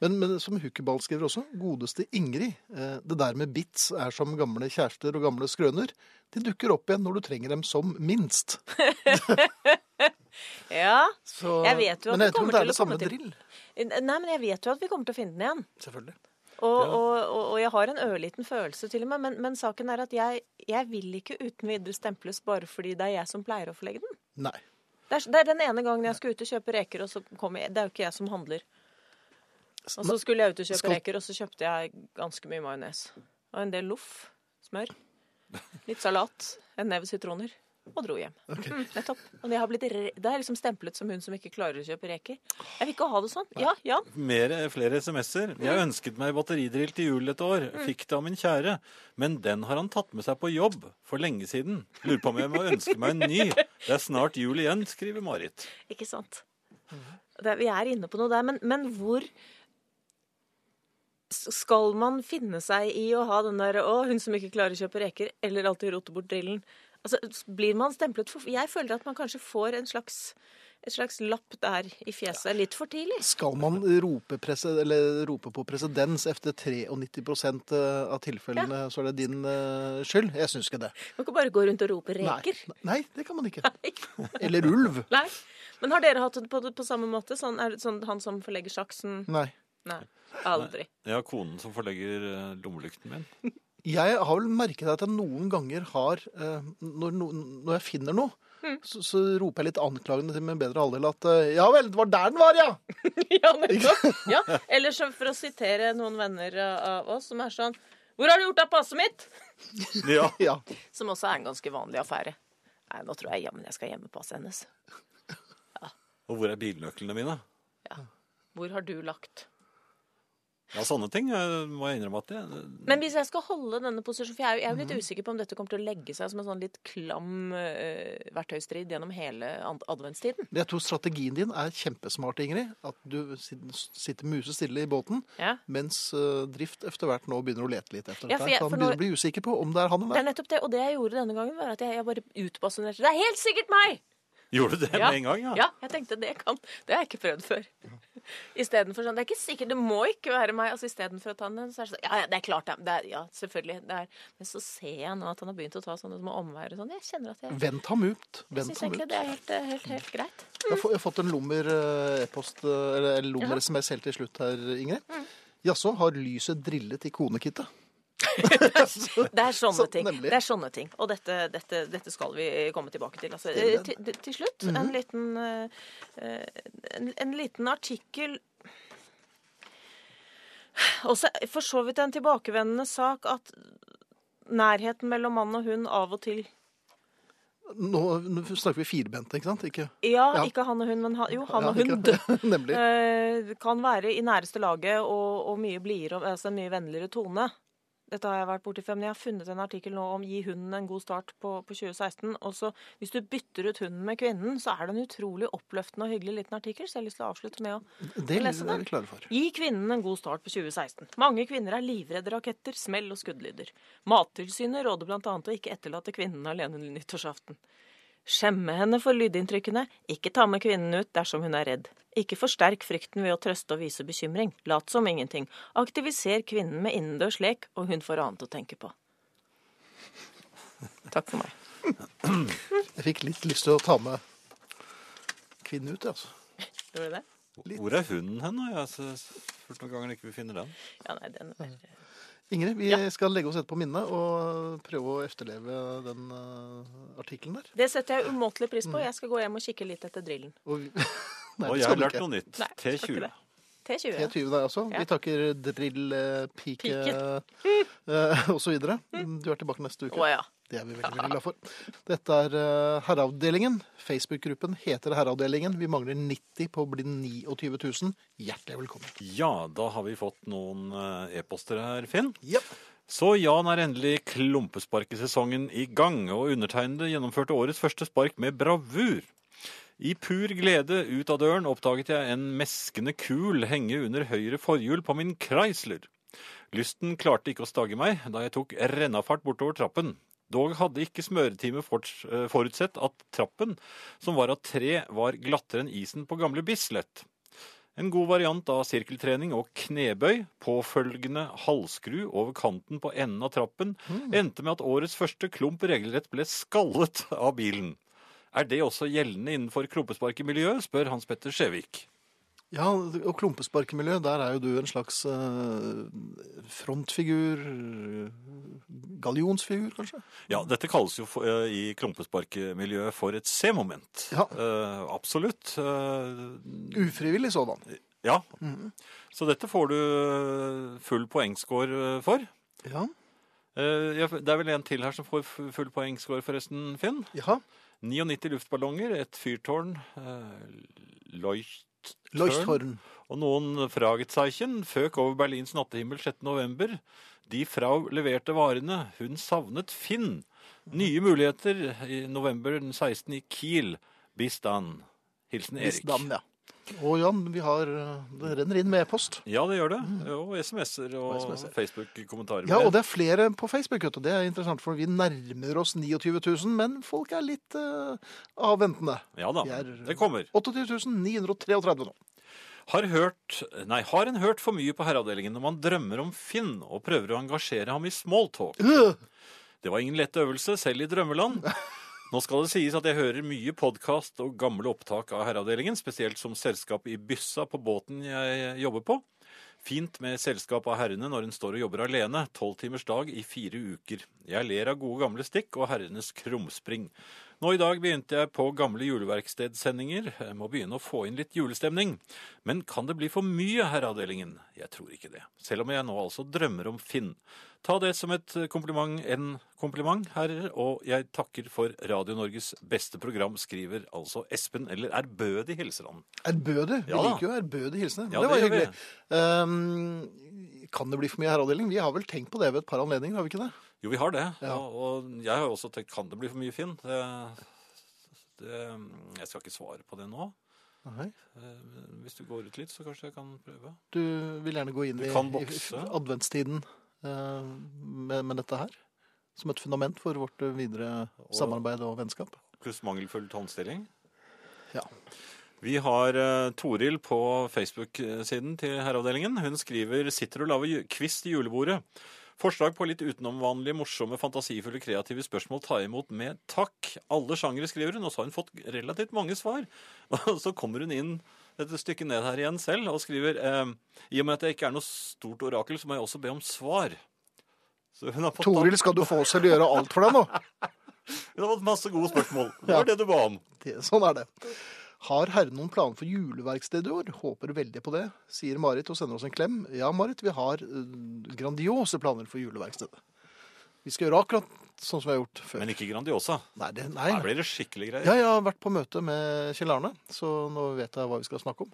Speaker 1: Men, men som Hukkeball skriver også, godeste Ingrid, eh, det der med bits er som gamle kjærester og gamle skrøner. De dukker opp igjen når du trenger dem som minst.
Speaker 3: Ja.
Speaker 1: Så,
Speaker 3: Jeg vet jo at
Speaker 1: men jeg
Speaker 3: det kommer
Speaker 1: tror det
Speaker 3: til
Speaker 1: er
Speaker 3: å
Speaker 1: det samme
Speaker 3: komme til.
Speaker 1: drill.
Speaker 3: Nei, men jeg vet jo at vi kommer til å finne den igjen.
Speaker 1: Selvfølgelig.
Speaker 3: Og,
Speaker 2: Ja.
Speaker 3: og, og, og jeg har en ørliten følelse til og med, men, men saken er at jeg, jeg vil ikke uten videre stemples bare fordi det er jeg som pleier å få legge den.
Speaker 1: Nei.
Speaker 3: Det er, det er den ene gangen jeg skal ut og kjøpe reker, og så kommer jeg Det er jo ikke jeg som handler. Og så skulle jeg ut og kjøpe
Speaker 1: Skal-
Speaker 3: reker, og så kjøpte jeg ganske mye majones. Og en del loff. Smør. Litt salat. En neve sitroner. Og dro hjem.
Speaker 1: Ok.
Speaker 3: Mm, nettopp. Og jeg har blitt re da er jeg liksom stemplet som hun som ikke klarer å kjøpe reker. Jeg vil ikke ha det sånn. Ja, Jan.
Speaker 2: Mer, flere SMS-er. Jeg ønsket meg batteridrill til jul et år. Fikk det av min kjære. Men den har han tatt med seg på jobb for lenge siden. Lurer på om jeg må ønske meg en ny. Det er snart jul igjen, skriver Marit.
Speaker 3: Ikke sant? Det, vi er inne på noe der, men, men hvor s- skal man finne seg i å ha den derre 'Å, hun som ikke klarer å kjøpe reker', eller alltid rote bort drillen? Altså, s- Blir man stemplet for Jeg føler at man kanskje får en slags, et slags lapp der i fjeset litt for tidlig.
Speaker 1: Skal man rope, prese, eller rope på presedens etter 93 eh, av tilfellene, så er det din eh, skyld? Jeg syns ikke det.
Speaker 3: Man kan bare gå rundt og rope
Speaker 1: Nei.
Speaker 3: 'reker'.
Speaker 1: Nei, det kan man ikke.
Speaker 3: <laughs> Nei.
Speaker 1: Eller ulv.
Speaker 3: Nei. Men har dere hatt det på, på samme måte? Sånn, er det sånn han som forlegger saksen?
Speaker 1: Nei.
Speaker 3: Nei. Aldri.
Speaker 2: Jeg har konen som forlegger eh, lommelykten min.
Speaker 1: Jeg har vel merket at jeg noen ganger har eh, Når, no- når jeg finner noe,
Speaker 3: Mm.
Speaker 1: så, så roper jeg litt anklagende til min bedre halvdel at eh, Ja vel, det var der den var, ja! <laughs>
Speaker 3: <laughs> Ja, nettopp. Ja. Eller så for å sitere noen venner av oss som er sånn Hvor har du gjort av passet mitt?
Speaker 2: Ja.
Speaker 1: ja.
Speaker 3: Som også er en ganske vanlig affære. Nei, nå tror jeg jammen jeg skal gjemme passet hennes.
Speaker 2: Og hvor er bilnøklene mine?
Speaker 3: Hvor har du lagt?
Speaker 2: Ja, sånne ting eh, må jeg innrømme at jeg eh,
Speaker 3: Men hvis jeg skal holde denne posisjonen, for jeg er jo jeg er jo litt usikker på om dette kommer til å legge seg som en sånn litt klam eh, verktøystrid gjennom hele ad- adventstiden.
Speaker 1: Men Jeg tror strategien din er kjempesmart, Ingrid. At du sit- sitter musestille i båten,
Speaker 3: Ja.
Speaker 1: mens eh, Drift etter hvert nå begynner å lete litt etter
Speaker 3: Ja,
Speaker 1: dette.
Speaker 3: for
Speaker 1: her, for
Speaker 3: jeg-
Speaker 1: han
Speaker 3: for
Speaker 1: begynner
Speaker 3: når-
Speaker 1: å bli usikker på om det er han
Speaker 3: Det
Speaker 1: eller
Speaker 3: er nettopp det. Og det jeg gjorde denne gangen, var at jeg, jeg bare utbasunerte Det er helt sikkert meg!
Speaker 2: Gjorde du det
Speaker 3: Ja.
Speaker 2: med en gang? Ja.
Speaker 3: Ja, jeg tenkte det kan Det har jeg ikke prøvd før. Istedenfor sånn Det er ikke sikkert, det må ikke være meg. Altså Istedenfor å ta den, så er det sånn Ja, ja, det er klart, det. det er, ja, selvfølgelig. Det er. Men så ser jeg nå at han har begynt å ta sånne små omveier og sånn. Jeg kjenner at jeg
Speaker 1: Vent ham ut.
Speaker 3: syns
Speaker 1: Vent ham ut.
Speaker 3: egentlig det er helt, eh, helt, helt greit.
Speaker 1: Jeg har, få, jeg har fått en lommer-e-post, eh, eller en lommer-SMS helt til slutt her, Ingrid.
Speaker 3: Mm.
Speaker 1: Jaså, har lyset drillet i
Speaker 3: <laughs>
Speaker 1: konekittet? <laughs>
Speaker 3: Det er sånne
Speaker 1: Så,
Speaker 3: ting.
Speaker 1: nemlig.
Speaker 3: Det er sånne ting. Og dette, dette, dette skal vi komme tilbake til. Altså,
Speaker 1: Spennende.
Speaker 3: eh, til, til- til slutt
Speaker 1: Mhm.
Speaker 3: en, liten, eh, eh, en, en liten artikkel Også for så vidt en tilbakevendende sak at nærheten mellom mann og hund av og til
Speaker 1: Nå, nå snakker vi firbente, ikke sant? Ikke,
Speaker 3: Ja,
Speaker 1: Ja.
Speaker 3: ikke han og hun, men han, jo, han
Speaker 1: Ja,
Speaker 3: og hun
Speaker 1: ikke- <laughs> Nemlig.
Speaker 3: eh, kan være i næreste laget og, og mye blidere og altså, en mye vennligere tone. Dette har jeg vært borti før, men jeg har funnet en artikkel nå om 'gi hunden en god start' på, på 2016. Og så, hvis du bytter ut hunden med kvinnen, så er det en utrolig oppløftende og hyggelig liten artikkel. Så jeg har lyst til å avslutte med å
Speaker 1: Det
Speaker 3: lese
Speaker 1: er
Speaker 3: den.
Speaker 1: vi klare for.
Speaker 3: Gi kvinnen en god start på 2016. Mange kvinner er livredde raketter, smell og skuddlyder. Mattilsynet råder bl.a. å ikke etterlate kvinnen alene nyttårsaften. Skjemme henne for lydinntrykkene. Ikke ta med kvinnen ut dersom hun er redd. Ikke forsterk frykten ved å trøste og vise bekymring. Lat som ingenting. Aktiviser kvinnen med innendørs lek, og hun får annet å tenke på. Takk for meg.
Speaker 1: Jeg fikk litt lyst til å ta med kvinnen ut, altså.
Speaker 3: Gjorde du det?
Speaker 2: Hvor er hunden hen? da? Jeg har s- spurt noen ganger ikke vi finner den.
Speaker 3: Ja, nei, den er
Speaker 1: Ingrid, vi skal legge oss etterpå minnet og prøve å efterleve den eh, artikkelen der.
Speaker 3: Det setter jeg umåtelig pris på. Jeg skal gå hjem og kikke litt etter drillen.
Speaker 1: Og, vi- <laughs> Nei,
Speaker 2: Og
Speaker 1: det
Speaker 2: jeg
Speaker 1: skal
Speaker 2: har
Speaker 1: du
Speaker 2: lært
Speaker 1: ikke.
Speaker 2: noe nytt.
Speaker 3: Nei, skal ikke
Speaker 2: T20.
Speaker 3: det. T20. ja.
Speaker 1: T20 der altså.
Speaker 3: Ja.
Speaker 1: Vi takker drill, eh, pike
Speaker 3: Pike. Mm.
Speaker 1: eh, <laughs> og så videre. Du er tilbake neste uke.
Speaker 3: Å ja.
Speaker 1: Det er vi veldig, veldig glad for. Dette er eh, Herreavdelingen. Facebook-gruppen heter Herreavdelingen. Vi mangler 90 på å bli 29 000. Hjertelig velkommen.
Speaker 2: Ja, da har vi fått noen eh, e-poster her, Finn.
Speaker 1: Ja.
Speaker 2: Så Jan er endelig klumpesparkesesongen i gang, og undertegnede gjennomførte årets første spark med bravur. I pur glede ut av døren oppdaget jeg en meskende kul henge under høyre forhjul på min Chrysler. Lysten klarte ikke å stagge meg da jeg tok rennafart bortover trappen. Dog hadde ikke smøretime forts- eh, forutsett at trappen, som var av tre, var glattere enn isen på gamle Bislett. En god variant av sirkeltrening og knebøy, påfølgende halvskru over kanten på enden av trappen, endte med at årets første klump regelrett ble skallet av bilen. Er det også gjeldende innenfor kroppesparkemiljøet, spør Hans Petter Skjevik.
Speaker 1: Ja, og klumpesparkemiljø, der er jo du en slags eh, frontfigur, eh, gallionsfigur kanskje?
Speaker 2: Ja, dette kalles jo for, eh, i klumpesparkemiljøet for et C-moment.
Speaker 1: Ja.
Speaker 2: Eh, absolutt. Eh,
Speaker 1: Ufrivillig sådan.
Speaker 2: ja. Så dette får du eh, full poengscore eh, for.
Speaker 1: Ja,
Speaker 2: Eh, ja, det er vel en til her som får f- full poengscore, forresten, Finn.
Speaker 1: jaha.
Speaker 2: 99 luftballonger, et fyrtårn, eh, leucht...
Speaker 1: Løysthorn.
Speaker 2: Og noen Fragezeichen føk over Berlins nattehimmel 6. november. De Frau leverte varene. Hun savnet Finn. Nye muligheter i november den 16. i Kiel. Bistan. Hilsen Erik.
Speaker 1: Isdam, ja. Og Jan, vi har, eh, det renner inn med e-post.
Speaker 2: Ja, det gjør det. Og SMS-er
Speaker 1: Mm.
Speaker 2: og,
Speaker 1: Og SMS-er.
Speaker 2: Facebook-kommentarer.
Speaker 1: Ja, og det er flere på Facebook, vet du. Det er interessant, for vi nærmer oss 29 000, men folk er litt eh, avventende.
Speaker 2: ja da,
Speaker 1: Vi er-
Speaker 2: det kommer.
Speaker 1: 28 933 nå.
Speaker 2: Har hørt Nei, har en hørt for mye på herreavdelingen når man drømmer om Finn og prøver å engasjere ham i smalltalk?
Speaker 1: Øh!
Speaker 2: Det var ingen lett øvelse, selv i drømmeland. Nå skal det sies at jeg hører mye podkast og gamle opptak av Herreavdelingen, spesielt som selskap i byssa på båten jeg jobber på. Fint med selskap av herrene når en står og jobber alene, tolv timers dag i fire uker. Jeg ler av gode gamle stikk og herrenes krumspring. Nå i dag begynte jeg på gamle juleverkstedsendinger, jeg må begynne å få inn litt julestemning. Men kan det bli for mye, Herreavdelingen? Jeg tror ikke det, selv om jeg nå altså drømmer om Finn. Ta det som et kompliment, en kompliment, herrer, og jeg takker for Radio Norges beste program, skriver altså Espen, eller ærbødig hilser han.
Speaker 1: Ærbødig. Vi
Speaker 2: Ja da.
Speaker 1: liker jo ærbødig hilsener.
Speaker 2: Ja,
Speaker 1: det var
Speaker 2: det gjør vi.
Speaker 1: hyggelig. Ehm, kan det bli for mye herreavdeling? Vi har vel tenkt på det ved et par anledninger, har vi ikke det?
Speaker 2: Jo, vi har det,
Speaker 1: Ja.
Speaker 2: og, og jeg har jo også tenkt, kan det bli for mye Finn? Det, det, jeg skal ikke svare på det nå.
Speaker 1: Nei.
Speaker 2: Eh, men Hvis du går ut litt, så kanskje jeg kan prøve.
Speaker 1: Du vil gjerne gå inn
Speaker 2: Du
Speaker 1: i,
Speaker 2: kan
Speaker 1: i
Speaker 2: bokse.
Speaker 1: adventstiden eh, med, med dette her? Som et fundament for vårt eh, videre samarbeid og vennskap?
Speaker 2: Pluss mangelfull tannstilling.
Speaker 1: Ja.
Speaker 2: Vi har eh, Toril på Facebook-siden til herreavdelingen. Hun skriver 'Sitter og lager ju- quiz til julebordet'. Forslag på litt utenomvanlige, morsomme, fantasifulle, kreative spørsmål ta imot med takk. Alle sjangere, skriver hun, og så har hun fått relativt mange svar. <laughs> Og så kommer hun inn et stykke ned her igjen selv og skriver ehm, I og med at jeg ikke er noe stort orakel, så må jeg også be om svar. Så hun har fått,
Speaker 1: Toril, skal du få oss til å gjøre alt for deg nå?
Speaker 2: hun har fått masse gode spørsmål. Det var det du ba om.
Speaker 1: Det, <laughs> sånn er det. Har herren noen planer for juleverkstedet i år? Håper veldig på det, sier Marit og sender oss en klem. Ja, Marit, vi har eh, grandiose planer for juleverkstedet. Vi skal gjøre akkurat sånn som vi har gjort før.
Speaker 2: Men ikke Grandiosa.
Speaker 1: Nei, det, nei.
Speaker 2: Her blir det skikkelige greier.
Speaker 1: Ja, jeg har vært på møte med Kjell Arne, så nå vet jeg hva vi skal snakke om.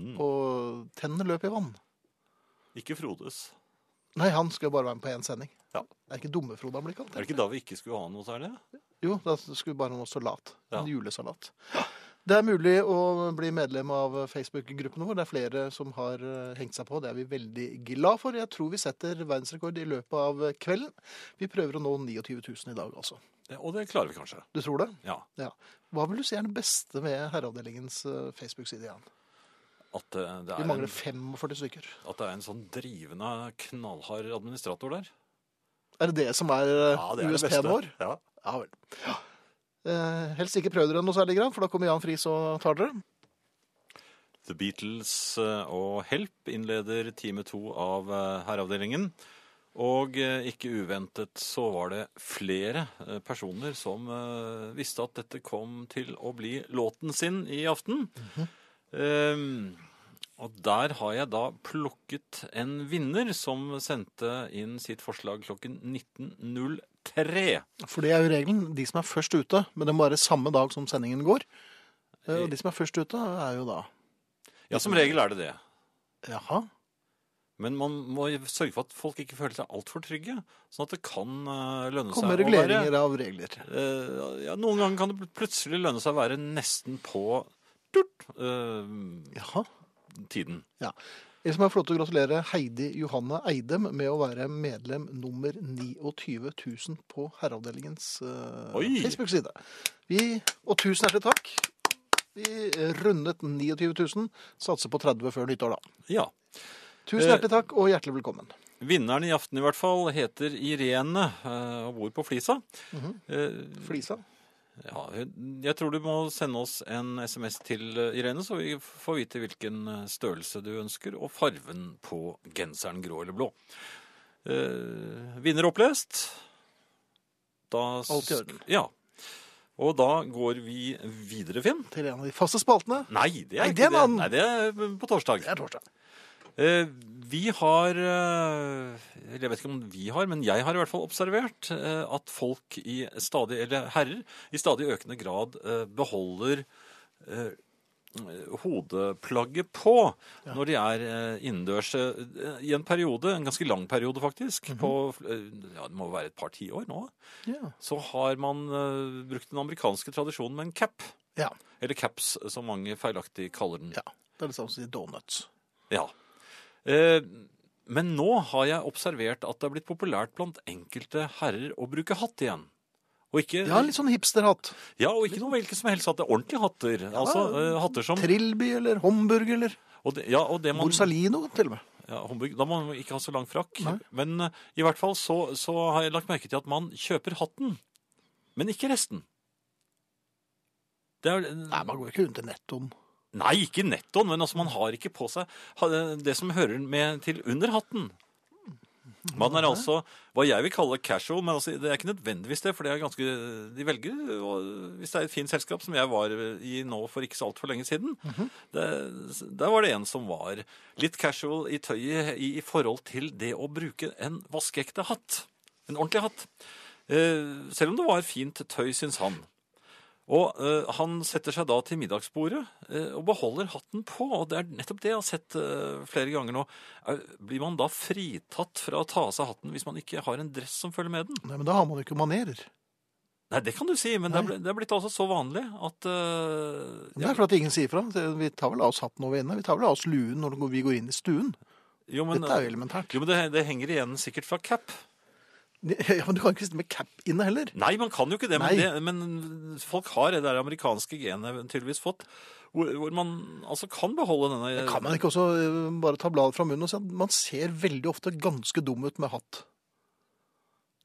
Speaker 2: Mm.
Speaker 1: Og tennene løp i vann.
Speaker 2: Ikke Frodes.
Speaker 1: Nei, han skal jo bare være med på én sending.
Speaker 2: Ja.
Speaker 1: Det er ikke dumme Frode han blir kalt.
Speaker 2: Er det ikke da vi ikke skulle ha noe særlig?
Speaker 1: Jo, da skulle bare noe salat. En
Speaker 2: Ja.
Speaker 1: julesalat. Det er mulig å bli medlem av Facebook-gruppene våre. Det er flere som har eh, hengt seg på. Det er vi veldig glad for. Jeg tror vi setter verdensrekord i løpet av kvelden. Vi prøver å nå 29 000 i dag, altså.
Speaker 2: Ja, Og det klarer vi kanskje.
Speaker 1: Du tror det?
Speaker 2: Ja.
Speaker 1: Ja. Hva vil du si er det beste med Herreavdelingens eh, Facebook-side igjen?
Speaker 2: At eh,
Speaker 1: Vi
Speaker 2: det, er en,
Speaker 1: mangler 45 stykker.
Speaker 2: at det er en sånn drivende, knallhard administrator der.
Speaker 1: Er det det som er eh,
Speaker 2: det er det
Speaker 1: USP-en
Speaker 2: beste.
Speaker 1: vår?
Speaker 2: Ja.
Speaker 1: Ja vel. Eh, helst ikke prøv dere noe særlig, grann, for da kommer Jan Friis og tar dere.
Speaker 2: The Beatles eh, og Help innleder time to av eh, herreavdelingen. Og eh, ikke uventet så var det flere eh, personer som eh, visste at dette kom til å bli låten sin i aften. Ehm, og der har jeg da plukket en vinner som sendte inn sitt forslag klokken 19.03.
Speaker 1: For det er jo regelen. De som er først ute, men det må være samme dag som sendingen går. Eh, Og de som er først ute, er jo da
Speaker 2: Ja, som regel er det det.
Speaker 1: Jaha.
Speaker 2: Men man må sørge for at folk ikke føler seg altfor trygge, sånn at det kan eh, lønne
Speaker 1: Kommer
Speaker 2: seg å være
Speaker 1: reguleringer av regler.
Speaker 2: Eh, ja, Noen ganger kan det pl- plutselig lønne seg å være nesten på turt, eh,
Speaker 1: Jaha.
Speaker 2: tiden.
Speaker 1: Det som er flott å gratulere Heidi Johanne Eidem med å være medlem nummer 29 000 på Herreavdelingens eh,
Speaker 2: Oi!
Speaker 1: Facebook-side. Vi, og tusen hjertelig takk. Vi rundet 29 000. Satser på 30 før nyttår, da.
Speaker 2: Ja.
Speaker 1: Tusen
Speaker 2: Eh,
Speaker 1: hjertelig takk, og hjertelig velkommen.
Speaker 2: Vinneren i aften i hvert fall heter Irene eh, og bor på Flisa.
Speaker 1: Mhm.
Speaker 2: Eh,
Speaker 1: Flisa.
Speaker 2: ja, hun- jeg tror du må sende oss en SMS til eh, Irene, så vi får vite hvilken eh, størrelse du ønsker, og farven på genseren, grå eller blå. Eh, vinner opplest. Da, s-
Speaker 1: Alt i orden.
Speaker 2: Ja. Og da går vi videre, Finn.
Speaker 1: Til en av de faste spaltene.
Speaker 2: Nei, det er,
Speaker 1: Nei,
Speaker 2: ikke
Speaker 1: det er en
Speaker 2: det.
Speaker 1: annen.
Speaker 2: Nei, det er på torsdag.
Speaker 1: Det er torsdag.
Speaker 2: Eh, Vi har eh, Eller jeg vet ikke om vi har, men jeg har i hvert fall observert eh, at folk i stadig Eller herrer i stadig økende grad eh, beholder eh, hodeplagget på når de er eh, innendørs eh, i en periode, en ganske lang periode faktisk, på eh, ja, det må være et par tiår nå,
Speaker 1: Ja.
Speaker 2: så har man eh, brukt den amerikanske tradisjonen med en cap.
Speaker 1: ja.
Speaker 2: Eller caps, som mange feilaktig kaller den.
Speaker 1: Ja. Det er det samme som å si donuts.
Speaker 2: Ja. Eh, men nå har jeg observert at det er blitt populært blant enkelte herrer å bruke hatt igjen. Og ikke,
Speaker 1: Ja, litt sånn hipsterhatt.
Speaker 2: ja, og ikke noe hvilken som helst hatt. Det er ordentlige hatter. altså, eh, hatter som
Speaker 1: Trilby eller Homburg eller
Speaker 2: og det, ja, og det man,
Speaker 1: Borsalino, til og med.
Speaker 2: ja, Homburg, Da må man ikke ha så lang frakk.
Speaker 1: Nei.
Speaker 2: Men eh, i hvert fall så, så har jeg lagt merke til at man kjøper hatten, men ikke resten. Det er,
Speaker 1: Nei, man går ikke rundt i nettoen.
Speaker 2: Nei, ikke nettoen, men altså, man har ikke på seg ha- det som hører med til under hatten. Man er altså hva jeg vil kalle casual, men altså, det er ikke nødvendigvis det, for det er ganske, de velger, og hvis det er et fint selskap som jeg var i nå for ikke så alt for lenge siden, det, der var det en som var litt casual i tøyet i, i forhold til det å bruke en vaskeekte hatt, en ordentlig hatt. Eh, selv om det var fint tøy, syns han. Og eh, han setter seg da til middagsbordet eh, og beholder hatten på. Og det er nettopp det jeg har sett eh, flere ganger nå. Er, blir man da fritatt fra å ta av seg hatten hvis man ikke har en dress som følger med den?
Speaker 1: Nei, men da har man jo ikke manerer.
Speaker 2: Nei, det kan du si, men det er,
Speaker 1: Nei.
Speaker 2: ble- det er blitt altså så vanlig at eh,
Speaker 1: Men Det er fordi ingen sier fra. Vi tar vel av oss hatten når vi er inne. Vi tar vel av oss luen når vi går inn i stuen.
Speaker 2: jo, men,
Speaker 1: Dette er eh, jo elementært.
Speaker 2: jo, men det, det henger igjen sikkert fra cap.
Speaker 1: <laughs> Ja, men du kan ikke sitte med cap inne heller.
Speaker 2: Nei, man kan jo ikke det, men,
Speaker 1: Nei.
Speaker 2: det, men folk har det der amerikanske genet tydeligvis fått. Hvor, hvor man altså kan beholde denne
Speaker 1: Kan man ikke også eh, bare ta bladet fra munnen og si at man ser veldig ofte ganske dum ut med hatt?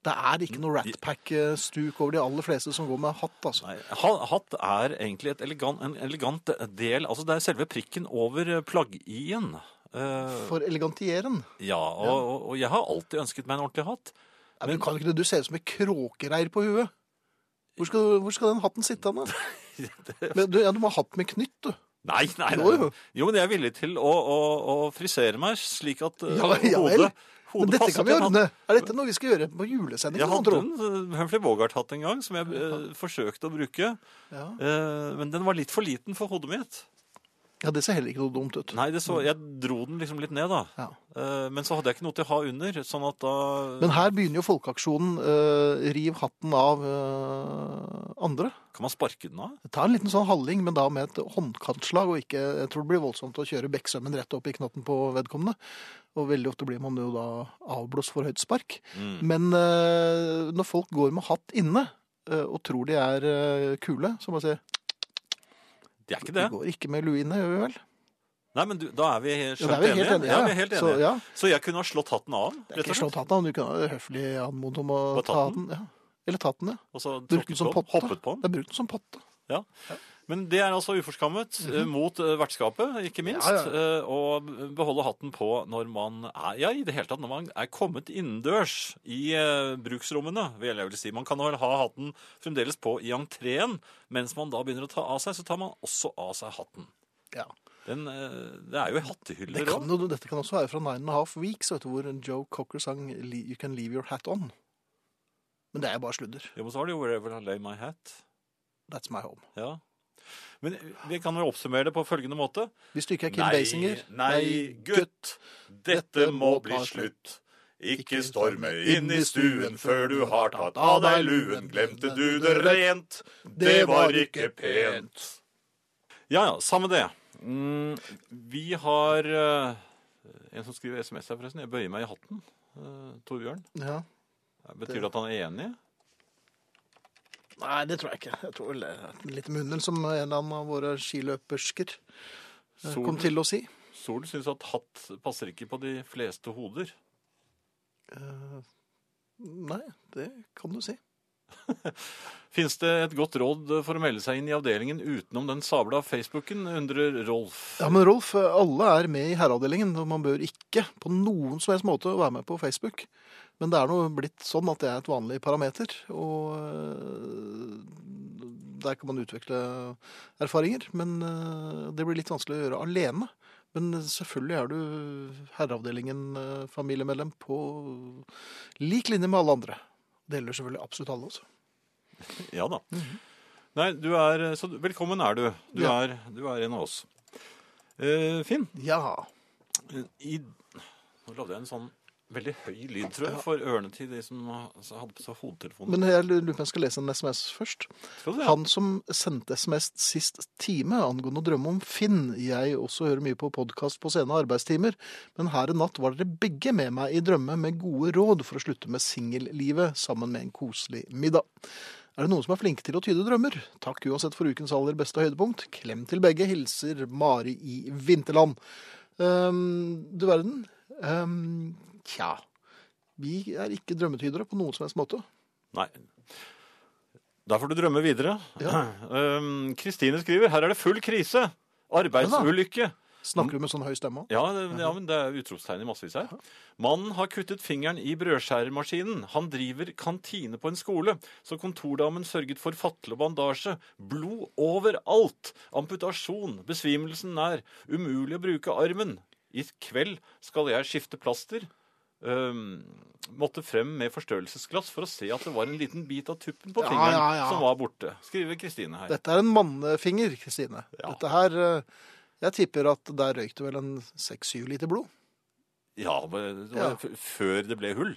Speaker 1: Det er ikke noe Rat Pack-stuk over de aller fleste som går med hatt, altså.
Speaker 2: Nei, ha- hatt er egentlig et elegant, en elegant del Altså, det er selve prikken over eh, plagg-i-en. Eh,
Speaker 1: For elegantieren.
Speaker 2: ja, og, og, og jeg har alltid ønsket meg en ordentlig hatt. <laughs>
Speaker 1: Nei, men du kan jo ikke det. Du ser ut som en kråkereir på huet. Hvor skal, du- hvor skal den hatten sitte henne? Men du, ja, du må ha hatt med knytt, du.
Speaker 2: Nei, nei, nei.
Speaker 1: Jo, jo.
Speaker 2: Jo, men jeg er villig til å, å, å frisere meg slik at eh,
Speaker 1: Ja, ja vel.
Speaker 2: hodet,
Speaker 1: Men
Speaker 2: hodet
Speaker 1: dette kan
Speaker 2: passer
Speaker 1: vi
Speaker 2: til en hatt.
Speaker 1: ordne. Er dette noe vi skal gjøre på julesending?
Speaker 2: Jeg
Speaker 1: kan man
Speaker 2: hadde
Speaker 1: tro?
Speaker 2: en eh, Humphrey Bogart-hatt en gang som jeg eh, forsøkte å bruke,
Speaker 1: Ja.
Speaker 2: eh, men den var litt for liten for hodet mitt.
Speaker 1: ja, det ser heller ikke noe dumt ut.
Speaker 2: Nei, det så, jeg dro den liksom litt ned, da.
Speaker 1: Mm. Ja.
Speaker 2: Eh, men så hadde jeg ikke noe til å ha under, sånn at da
Speaker 1: Men her begynner jo folkeaksjonen eh, Riv hatten av eh, andre.
Speaker 2: Kan man sparke den av?
Speaker 1: Ta en liten sånn halling, men da med et håndkantslag, og ikke Jeg tror det blir voldsomt å kjøre bekksømmen rett opp i knotten på vedkommende. Og veldig ofte blir man jo da avblåst for høyt spark.
Speaker 2: Mm.
Speaker 1: Men eh, når folk går med hatt inne eh, og tror de er eh, kule, så bare sier
Speaker 2: Det er ikke
Speaker 1: De
Speaker 2: det.
Speaker 1: går ikke med lue inne, gjør vi vel?
Speaker 2: Nei, men du, da er vi
Speaker 1: Ja,
Speaker 2: skjønt
Speaker 1: da er vi helt
Speaker 2: enige.
Speaker 1: enige,
Speaker 2: Ja,
Speaker 1: ja.
Speaker 2: vi er helt enige.
Speaker 1: Så,
Speaker 2: Så,
Speaker 1: ja.
Speaker 2: jeg kunne ha slått hatten av,
Speaker 1: Det er ikke
Speaker 2: rett og slett.
Speaker 1: slått hatten, men du kan ha høflig anmodet om å
Speaker 2: Bare
Speaker 1: ta
Speaker 2: tatt
Speaker 1: den. Ja. Eller tatt den, ja.
Speaker 2: Og så
Speaker 1: Brukt den
Speaker 2: tråkket
Speaker 1: som
Speaker 2: på den,
Speaker 1: potte.
Speaker 2: hoppet på den.
Speaker 1: Det er brukt den som potte.
Speaker 2: Ja. <laughs> Men det er altså uforskammet eh, mot eh, vertskapet, ikke minst.
Speaker 1: Mhm. Ja,
Speaker 2: eh, Å beholde hatten på når man er Ja, i det hele tatt, når man er kommet innendørs i eh, bruksrommene, vil jeg vel si. Man kan vel ha hatten fremdeles på i entreen. Mens man da begynner å ta av seg, så tar man også av seg hatten.
Speaker 1: Ja.
Speaker 2: Den, eh, det er jo i hattehyller
Speaker 1: Det
Speaker 2: også.
Speaker 1: kan, jo- dette kan også være fra Nine and a Half Weeks, vet du, hvor Joe Cocker sang "Le- You Can Leave Your Hat On. Men det er bare sludder.
Speaker 2: Ja, men så har de jo Wherever I Lay My Hat.
Speaker 1: That's my home.
Speaker 2: Ja. Men eh, vi kan vel oppsummere det på følgende måte.
Speaker 1: Hvis du ikke er Kim Basinger
Speaker 2: nei, gutt, dette må bli slutt. Ikke storme inn i stuen før du har tatt av deg luen. Glemte du det rent? Det var ikke pent. Ja ja, samme det. Mm, vi har eh, en som skriver SMS her, forresten. Jeg bøyer meg i hatten. eh, Torbjørn.
Speaker 1: Ja.
Speaker 2: Betyr det at han er enig?
Speaker 1: Nei, det tror jeg ikke. Jeg tror vel det er en liten munnel, som en eller annen av våre skiløpersker eh, kom
Speaker 2: Solen,
Speaker 1: til å si.
Speaker 2: solen syns at hatt passer ikke på de fleste hoder.
Speaker 1: Nei, det kan du si.
Speaker 2: Fins det et godt råd for å melde seg inn i avdelingen utenom den sabla Facebooken, undrer Rolf.
Speaker 1: Ja, men Rolf, alle er med i herreavdelingen, og man bør ikke på noen som helst måte være med på Facebook. Men det er nå blitt sånn at det er et vanlig parameter, og øh, der kan man utvikle erfaringer. Men øh, det blir litt vanskelig å gjøre alene. Men selvfølgelig er du herreavdelingen-familiemedlem på lik linje med alle andre. Det gjelder selvfølgelig absolutt alle også.
Speaker 2: Ja da. Nei, du er, så velkommen er du.
Speaker 1: Mhm.
Speaker 2: Du,
Speaker 1: Ja.
Speaker 2: er, du er en av oss. Eh, Finn,
Speaker 1: Ja,
Speaker 2: i, nå lagde jeg en sånn veldig høy lyd, tror jeg, for ørene til de som altså hadde på seg hodetelefonen.
Speaker 1: men jeg lurer på om jeg skal lese en SMS først.
Speaker 2: Skal du det?
Speaker 1: Han som sendte SMS sist time angående å drømme om Finn. Jeg også hører mye på podkast på sene arbeidstimer, men her en natt var dere begge med meg i drømme med gode råd for å slutte med singellivet sammen med en koselig middag. Er det noen som er flinke til å tyde drømmer? Takk uansett for ukens aller beste høydepunkt. Klem til begge. Hilser Mari i Vinterland. Ehm, du verden. Ehm, tja. Vi er ikke drømmetydere på noen som helst måte.
Speaker 2: Nei. Da får du drømme videre.
Speaker 1: Ja.
Speaker 2: <clears throat> Um, Kristine skriver her er det full krise. Arbeidsulykke.
Speaker 1: Snakker du med sånn høy stemme?
Speaker 2: Ja, det, ja, men det er utropstegn i massevis her. Mannen har kuttet fingeren i brødskjæremaskinen. Han driver kantine på en skole, så kontordamen sørget for fatle og bandasje. Blod overalt! Amputasjon, besvimelsen nær. Umulig å bruke armen. I kveld skal jeg skifte plaster. Øhm, måtte frem med forstørrelsesglass for å se at det var en liten bit av tuppen på
Speaker 1: Ja,
Speaker 2: fingeren
Speaker 1: ja, ja.
Speaker 2: som var borte. Skriver Kristine her.
Speaker 1: Dette er en mannefinger, Kristine.
Speaker 2: Ja.
Speaker 1: Dette her eh, Jeg tipper at der røyk det vel en seks-syv liter blod.
Speaker 2: Ja, men det var
Speaker 1: Ja.
Speaker 2: f- før det ble hull.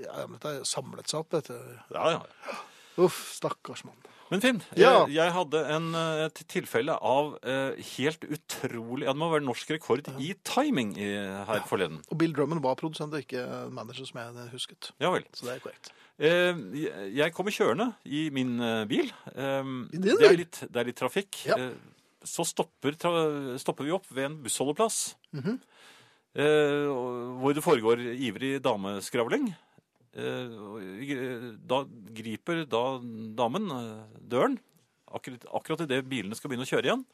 Speaker 1: Ja, men Dette samlet seg opp, dette.
Speaker 2: Ja, ja.
Speaker 1: Uff, stakkars mann.
Speaker 2: Men Finn, eh,
Speaker 1: Ja.
Speaker 2: jeg, jeg hadde en, eh, et tilfelle av eh, helt utrolig ja, Det må være norsk rekord i timing i, her forleden.
Speaker 1: Og Bill Drummond var produsent og ikke manager, som jeg husket.
Speaker 2: Ja vel.
Speaker 1: Så det er korrekt.
Speaker 2: Eh, jeg- jeg kommer kjørende i min eh, bil. Eh,
Speaker 1: I din
Speaker 2: det, er
Speaker 1: bil?
Speaker 2: litt, det er litt trafikk.
Speaker 1: Ja.
Speaker 2: Eh, så stopper, tra stopper vi opp ved en bussholdeplass.
Speaker 1: Mhm.
Speaker 2: eh, og- hvor det foregår ivrig dameskravling. Eh, og gr- da griper da damen eh, døren, akkurat, akkurat idet bilene skal begynne å kjøre igjen.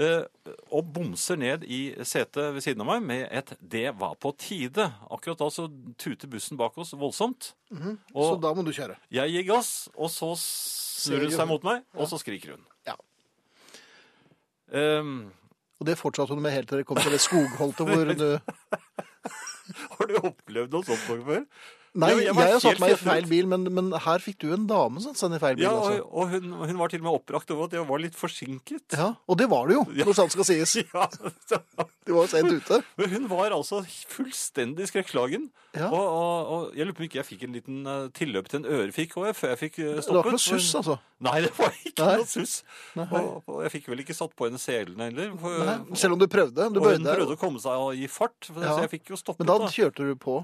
Speaker 2: eh, Og bomser ned i setet ved siden av meg med et 'det var på tide'. Akkurat da så tuter bussen bak oss voldsomt.
Speaker 1: Så
Speaker 2: Og
Speaker 1: da må du kjøre.
Speaker 2: jeg gir gass, og så snur hun
Speaker 1: Ser
Speaker 2: seg
Speaker 1: hun.
Speaker 2: mot meg, og så skriker hun.
Speaker 1: Ja.
Speaker 2: Ehm,
Speaker 1: Og det fortsatte hun med helt til dere kom til det skogholtet hvor du
Speaker 2: <laughs> har du opplevd noe sånt noe før?
Speaker 1: Nei,
Speaker 2: Ja, men
Speaker 1: jeg
Speaker 2: jeg var
Speaker 1: har
Speaker 2: helt
Speaker 1: satt meg i
Speaker 2: fjedret.
Speaker 1: feil bil, men, men her fikk du en dame som satt seg i feil bil.
Speaker 2: Ja, og,
Speaker 1: altså.
Speaker 2: og hun, hun var til og med oppbrakt over at jeg var litt forsinket.
Speaker 1: ja, Og det var det jo,
Speaker 2: Ja.
Speaker 1: når sant skal sies.
Speaker 2: <laughs> Ja, så-
Speaker 1: Du var jo sent ute.
Speaker 2: Men hun var altså fullstendig skrekkslagen.
Speaker 1: Ja.
Speaker 2: Og, og, og jeg lurer på om ikke jeg fikk en liten eh, tilløp til en ørefikk også, jeg, før jeg fikk eh,
Speaker 1: Det var
Speaker 2: stoppet.
Speaker 1: ikke noe suss, altså.
Speaker 2: Nei, det var ikke
Speaker 1: Nei.
Speaker 2: noe suss. Og, og jeg fikk vel ikke satt på henne selene heller. For,
Speaker 1: Nei, selv om du prøvde. Du
Speaker 2: og hun
Speaker 1: bøyde
Speaker 2: prøvde
Speaker 1: deg.
Speaker 2: å komme seg og gi fart, for,
Speaker 1: Ja.
Speaker 2: så jeg fikk jo stoppet.
Speaker 1: Men da kjørte du på.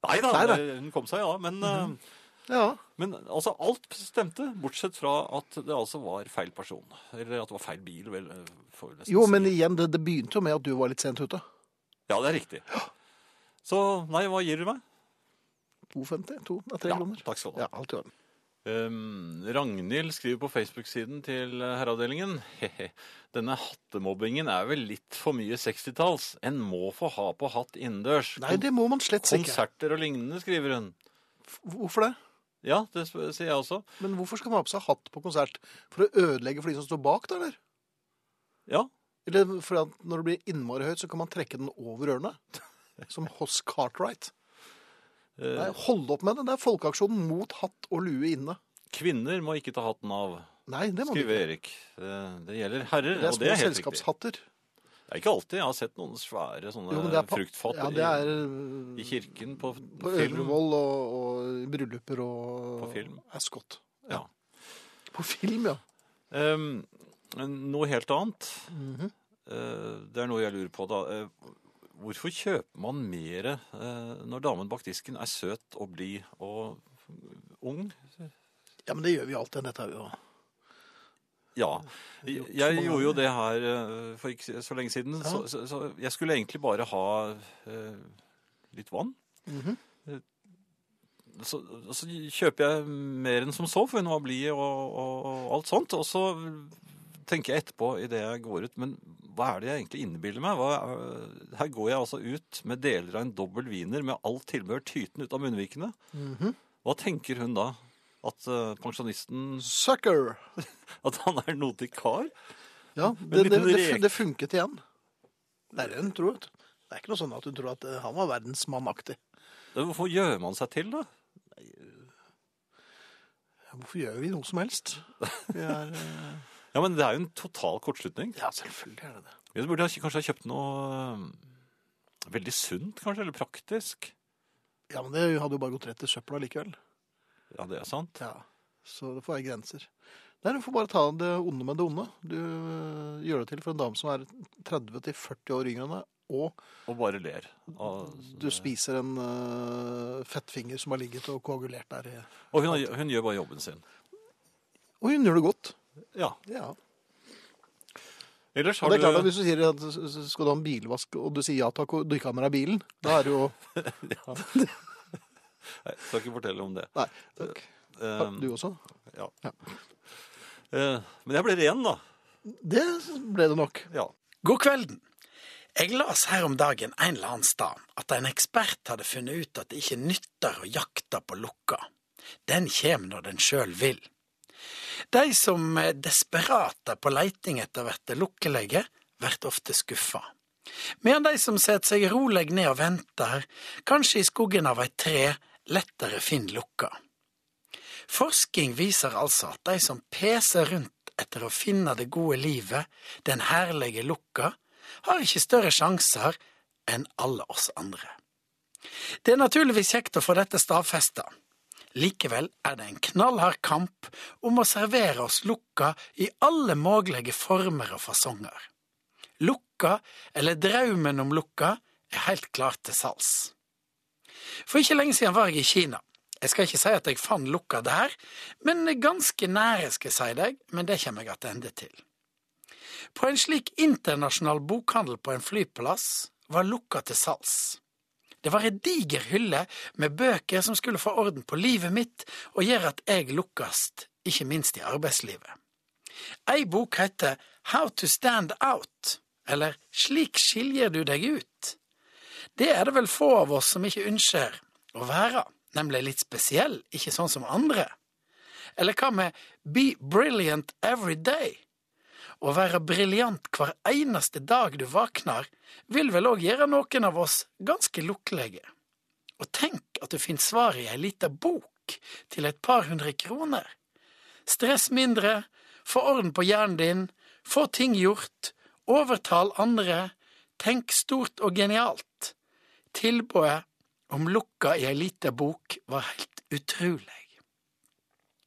Speaker 2: Nei da,
Speaker 1: Nei Mhm. da.
Speaker 2: hun kom seg, ja. Men, eh,
Speaker 1: Ja.
Speaker 2: men altså, alt stemte, bortsett fra at det altså var feil person. Eller at det var feil bil, vel. eh, Får vi nesten
Speaker 1: Jo,
Speaker 2: si.
Speaker 1: men igjen, det, det begynte jo med at du var litt sent ute.
Speaker 2: Ja, det er riktig. Så nei, hva gir du meg?
Speaker 1: 2,50? 2 nei, 3
Speaker 2: Ja,
Speaker 1: kroner?
Speaker 2: takk skal du
Speaker 1: Ja,
Speaker 2: ha.
Speaker 1: alt i orden.
Speaker 2: Um, Ragnhild skriver på Facebook-siden til eh, herreavdelingen Hehe, denne hattemobbingen er vel litt for mye 60-talls. En må få ha på hatt innendørs.
Speaker 1: Nei, det må man slett ikke.
Speaker 2: Konserter og lignende, skriver hun.
Speaker 1: Hvorfor det?
Speaker 2: Ja, det sp- sier jeg også.
Speaker 1: Men hvorfor skal man ha på seg hatt på konsert? For å ødelegge for de som står bak, da, eller?
Speaker 2: Ja,
Speaker 1: Eller for at når det blir innmari høyt, så kan man trekke den over ørene? <laughs> Som Hoss Cartwright.
Speaker 2: eh,
Speaker 1: Nei, hold opp med det. Det er folkeaksjonen mot hatt og lue inne.
Speaker 2: kvinner må ikke ta hatten av.
Speaker 1: Nei, det må du
Speaker 2: skriver
Speaker 1: ikke.
Speaker 2: Erik. Eh, Det gjelder herrer,
Speaker 1: Det er
Speaker 2: og det
Speaker 1: små
Speaker 2: er helt riktig.
Speaker 1: selskapshatter.
Speaker 2: Det er ikke alltid. Jeg har sett noen svære sånne
Speaker 1: Jo, men det er pa-
Speaker 2: fruktfat
Speaker 1: Ja,
Speaker 2: i-
Speaker 1: det er
Speaker 2: i kirken på,
Speaker 1: på
Speaker 2: film.
Speaker 1: Øvrevoll og, og i brylluper og
Speaker 2: På film.
Speaker 1: Ascot.
Speaker 2: Ja.
Speaker 1: På film, ja.
Speaker 2: Ehm, men noe helt annet.
Speaker 1: Mhm.
Speaker 2: Eh, det er noe jeg lurer på da. Eh, hvorfor kjøper man mer eh, når damen bak disken er søt og blid og ung?
Speaker 1: Ja, men det gjør vi alltid. Dette er jo
Speaker 2: Ja. Jeg, jeg gjorde jo det her eh, for ikke så lenge siden. Så, så, så jeg skulle egentlig bare ha eh, litt vann.
Speaker 1: Mhm.
Speaker 2: Eh, Så, så kjøper jeg mer enn som så, for hun var blid og, og, og alt sånt. Og så tenker jeg etterpå idet jeg går ut, men hva er det jeg egentlig innbiller meg? Hva er, her går jeg altså ut med deler av en dobbel wiener med alt tilbehør tytende ut av munnvikene.
Speaker 1: Mhm.
Speaker 2: Hva tenker hun da? At eh, pensjonisten
Speaker 1: Sucker!
Speaker 2: At han er en notig kar?
Speaker 1: Ja,
Speaker 2: Men
Speaker 1: det, det,
Speaker 2: liten
Speaker 1: det,
Speaker 2: rek.
Speaker 1: det funket igjen. Det er det hun tror. vet du. Det er ikke noe sånn at hun tror at eh, han var verdensmannaktig.
Speaker 2: Ja, Hvorfor gjør man seg til, da?
Speaker 1: Ja, Hvorfor gjør vi noe som helst? <laughs> Vi er, eh,
Speaker 2: Ja, men Det er jo en total kortslutning.
Speaker 1: ja, selvfølgelig er det det.
Speaker 2: Vi burde ha- kanskje ha kjøpt noe eh, veldig sunt, kanskje, eller praktisk.
Speaker 1: Ja, men det hadde jo bare gått rett i søpla likevel.
Speaker 2: Ja, det er sant.
Speaker 1: Ja, så det får være grenser. Nei, du får bare ta det onde med det onde. Du øh, gjør det til for en dame som er 30-40 år yngre enn deg, og
Speaker 2: Og bare ler. Og,
Speaker 1: du spiser en øh, fettfinger som har ligget og koagulert der. i-
Speaker 2: og hun, har- hun gjør bare jobben sin.
Speaker 1: Og hun gjør det godt.
Speaker 2: Ja.
Speaker 1: Ja.
Speaker 2: Ellers har
Speaker 1: Og det er klart at
Speaker 2: du
Speaker 1: Hvis du sier at s- s- skal du ha en bilvask, og du sier ja takk, og du ikke har med deg bilen, da er det jo <laughs>
Speaker 2: Nei, jeg skal ikke fortelle om det.
Speaker 1: Nei. Takk.
Speaker 2: Eh,
Speaker 1: Du også?
Speaker 2: ja.
Speaker 1: Ja.
Speaker 2: Eh, men jeg ble ren, da.
Speaker 1: Det ble det nok.
Speaker 2: Ja.
Speaker 4: God kvelden. Jeg las her om dagen en eller annen stad at en ekspert hadde funnet ut at det ikke nytter å jakte på lukka. Den kjem når den sjøl vil. De som er desperate på leiting etter å verte lukkelege, vert ofte skuffa. Medan de som setter seg rolig ned og venter, kanskje i skogen av et tre, lettere finner lukka. Forsking viser altså at de som peser rundt etter å finne det gode livet, den herlige lukka, har ikke større sjanser enn alle oss andre. Det er naturligvis kjekt å få dette stadfesta. Likevel er det en knallhard kamp om å servere oss lukka i alle mulige former og fasonger. Lukka, eller drømmen om lukka, er helt klart til salgs. For ikke lenge siden var jeg i Kina. Jeg skal ikke si at jeg fant lukka der, men ganske nære skal jeg si deg, men det kommer jeg tilbake til. På en slik internasjonal bokhandel på en flyplass var lukka til salgs. Det var ei diger hylle med bøker som skulle få orden på livet mitt og gjøre at jeg lukkast, ikke minst i arbeidslivet. Ei bok heter How to stand out, eller Slik skiljer du deg ut. Det er det vel få av oss som ikke ønsker å være, nemlig litt spesiell, ikke sånn som andre. Eller hva med be brilliant every day? Å være briljant hver eneste dag du våkner, vil vel òg gjøre noen av oss ganske lukkelige. Og tenk at du finner svaret i ei lita bok til et par hundre kroner. Stress mindre, få orden på hjernen din, få ting gjort, overtal andre, tenk stort og genialt. Tilbudet om lukka i ei lita bok var helt utrolig.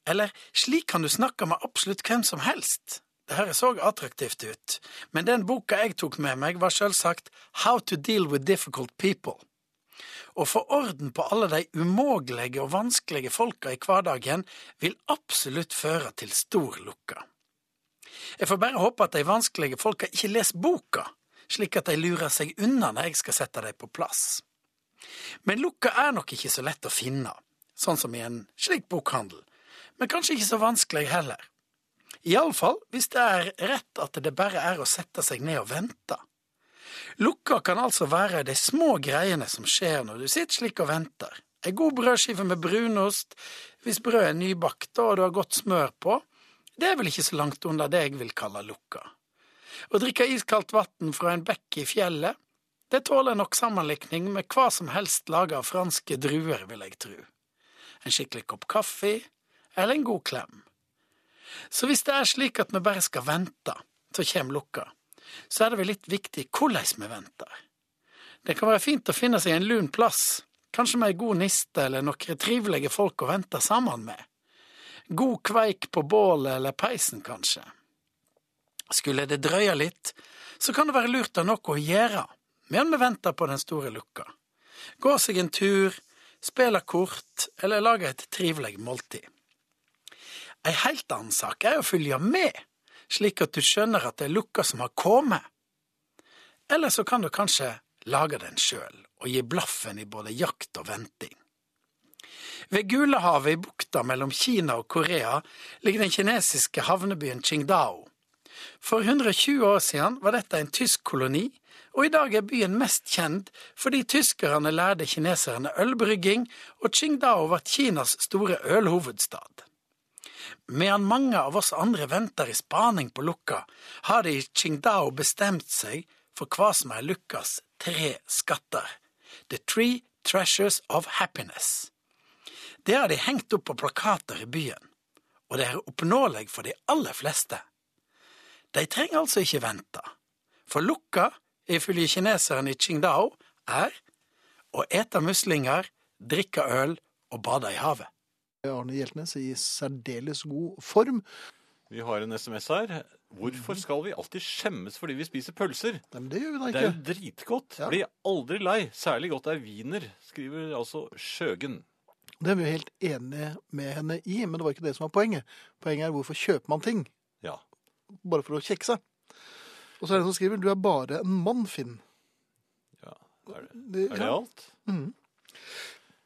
Speaker 4: Eller slik kan du snakke med absolutt hvem som helst. Det høres òg attraktivt ut, men den boka jeg tok med meg, var sjølsagt How to deal with difficult people. Å få orden på alle de umågelige og vanskelige folka i hverdagen vil absolutt føre til stor lukka. Jeg får bare håpe at de vanskelige folka ikke leser boka, slik at de lurer seg unna når jeg skal sette dem på plass. Men lukka er nok ikke så lett å finne, sånn som i en slik bokhandel, men kanskje ikke så vanskelig heller. Iallfall hvis det er rett at det bare er å sette seg ned og vente. Lukka kan altså være de små greiene som skjer når du sitter slik og venter. Ei god brødskive med brunost, hvis brødet er nybakt og du har godt smør på, det er vel ikke så langt unna det jeg vil kalle lukka. Å drikke iskaldt vann fra en bekk i fjellet, det tåler nok sammenlikning med hva som helst laga av franske druer, vil jeg tru. En skikkelig kopp kaffe, eller en god klem. Så hvis det er slik at vi bare skal vente, så kommer lukka, så er det vel litt viktig hvordan vi venter. Det kan være fint å finne seg en lun plass, kanskje med ei god niste eller noen trivelige folk å vente sammen med. God kveik på bålet eller peisen, kanskje. Skulle det drøye litt, så kan det være lurt å ha noe å gjøre mens vi venter på den store lukka. Gå seg en tur, spille kort eller lage et trivelig måltid. Ei heilt annen sak er å følge med, slik at du skjønner at det er lukka som har kommet. Eller så kan du kanskje lage den sjøl, og gi blaffen i både jakt og venting. Ved Gulehavet i bukta mellom Kina og Korea ligger den kinesiske havnebyen Qingdao. For 120 år siden var dette en tysk koloni, og i dag er byen mest kjent fordi tyskerne lærte kineserne ølbrygging, og Qingdao ble Kinas store ølhovedstad. Medan mange av oss andre venter i spaning på lukka, har de i Qingdao bestemt seg for hva som er lukkas tre skatter, The Three Treasures of Happiness. Det har de hengt opp på plakater i byen, og det er oppnåelig for de aller fleste. De trenger altså ikke vente, for lukka, ifølge kineseren i Qingdao, er å ete muslinger, drikke øl og bade i havet.
Speaker 1: Arne Hjeltnes i særdeles god form.
Speaker 2: Vi har en SMS her. Hvorfor skal vi alltid skjemmes fordi vi spiser pølser?
Speaker 1: Nei, men det gjør vi da
Speaker 2: Det er
Speaker 1: ikke.
Speaker 2: jo dritgodt.
Speaker 1: Ja.
Speaker 2: Blir aldri lei. Særlig godt er wiener, skriver altså Sjøgen.
Speaker 1: Det er vi jo helt enige med henne i, men det var ikke det som var poenget. Poenget er hvorfor kjøper man ting?
Speaker 2: Ja.
Speaker 1: Bare for å kjekke seg. Og så er det en som skriver 'Du er bare en mann, Finn'.
Speaker 2: ja. Er, det,
Speaker 1: Det,
Speaker 2: er det
Speaker 1: ja. Mm.
Speaker 2: alt?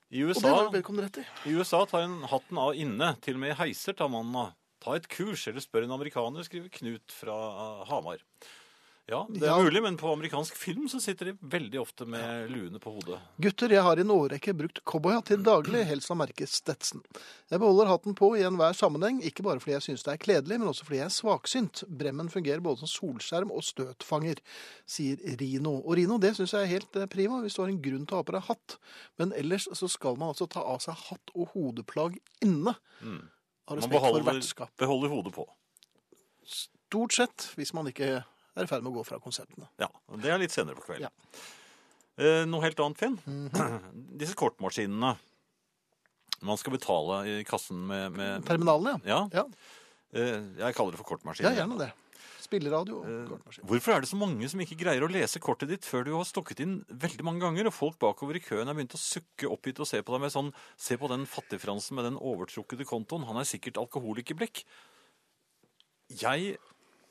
Speaker 2: I
Speaker 1: Og det
Speaker 2: USA,
Speaker 1: har vedkommende rett i.
Speaker 2: I USA tar en hatten av inne. Til og med i heiser tar mannen av. Ta et kurs, eller spør en amerikaner, skriver Knut fra eh, Hamar. Ja, det er
Speaker 1: Ja.
Speaker 2: mulig, men på amerikansk film så sitter de veldig ofte med luene på hodet.
Speaker 1: Gutter, jeg har i en årrekke brukt cowboyhatt til daglig, helst av merket Stetson. Jeg beholder hatten på i enhver sammenheng, ikke bare fordi jeg synes det er kledelig, men også fordi jeg er svaksynt. Bremmen fungerer både som solskjerm og støtfanger, sier Rino. Og Rino, det synes jeg er helt eh, prima, hvis du har en grunn til å ha på deg hatt. Men ellers så skal man altså ta av seg hatt og hodeplagg inne.
Speaker 2: Mm.
Speaker 1: Av
Speaker 2: Man
Speaker 1: respekt for
Speaker 2: beholder,
Speaker 1: vertskap.
Speaker 2: beholder hodet på.
Speaker 1: Stort sett, hvis man ikke er i ferd med å gå fra konsertene.
Speaker 2: Ja, Det er litt senere på
Speaker 1: Ja.
Speaker 2: kvelden. Eh, noe helt annet, Finn.
Speaker 1: Mhm.
Speaker 2: <clears throat> Disse kortmaskinene man skal betale i kassen med, med
Speaker 1: Terminalene,
Speaker 2: Ja,
Speaker 1: ja.
Speaker 2: eh, jeg kaller det for
Speaker 1: Ja,
Speaker 2: kortmaskiner.
Speaker 1: ja gjerne det. Spilleradio og
Speaker 2: Eh,
Speaker 1: kortmaskin.
Speaker 2: Hvorfor er det så mange som ikke greier å lese kortet ditt før du har stukket inn veldig mange ganger, og folk bakover i køen har begynt å sukke oppgitt og se på deg med sånn Se på den fattigfransen med den overtrukkede kontoen, han er sikkert alkoholikerblikk. Jeg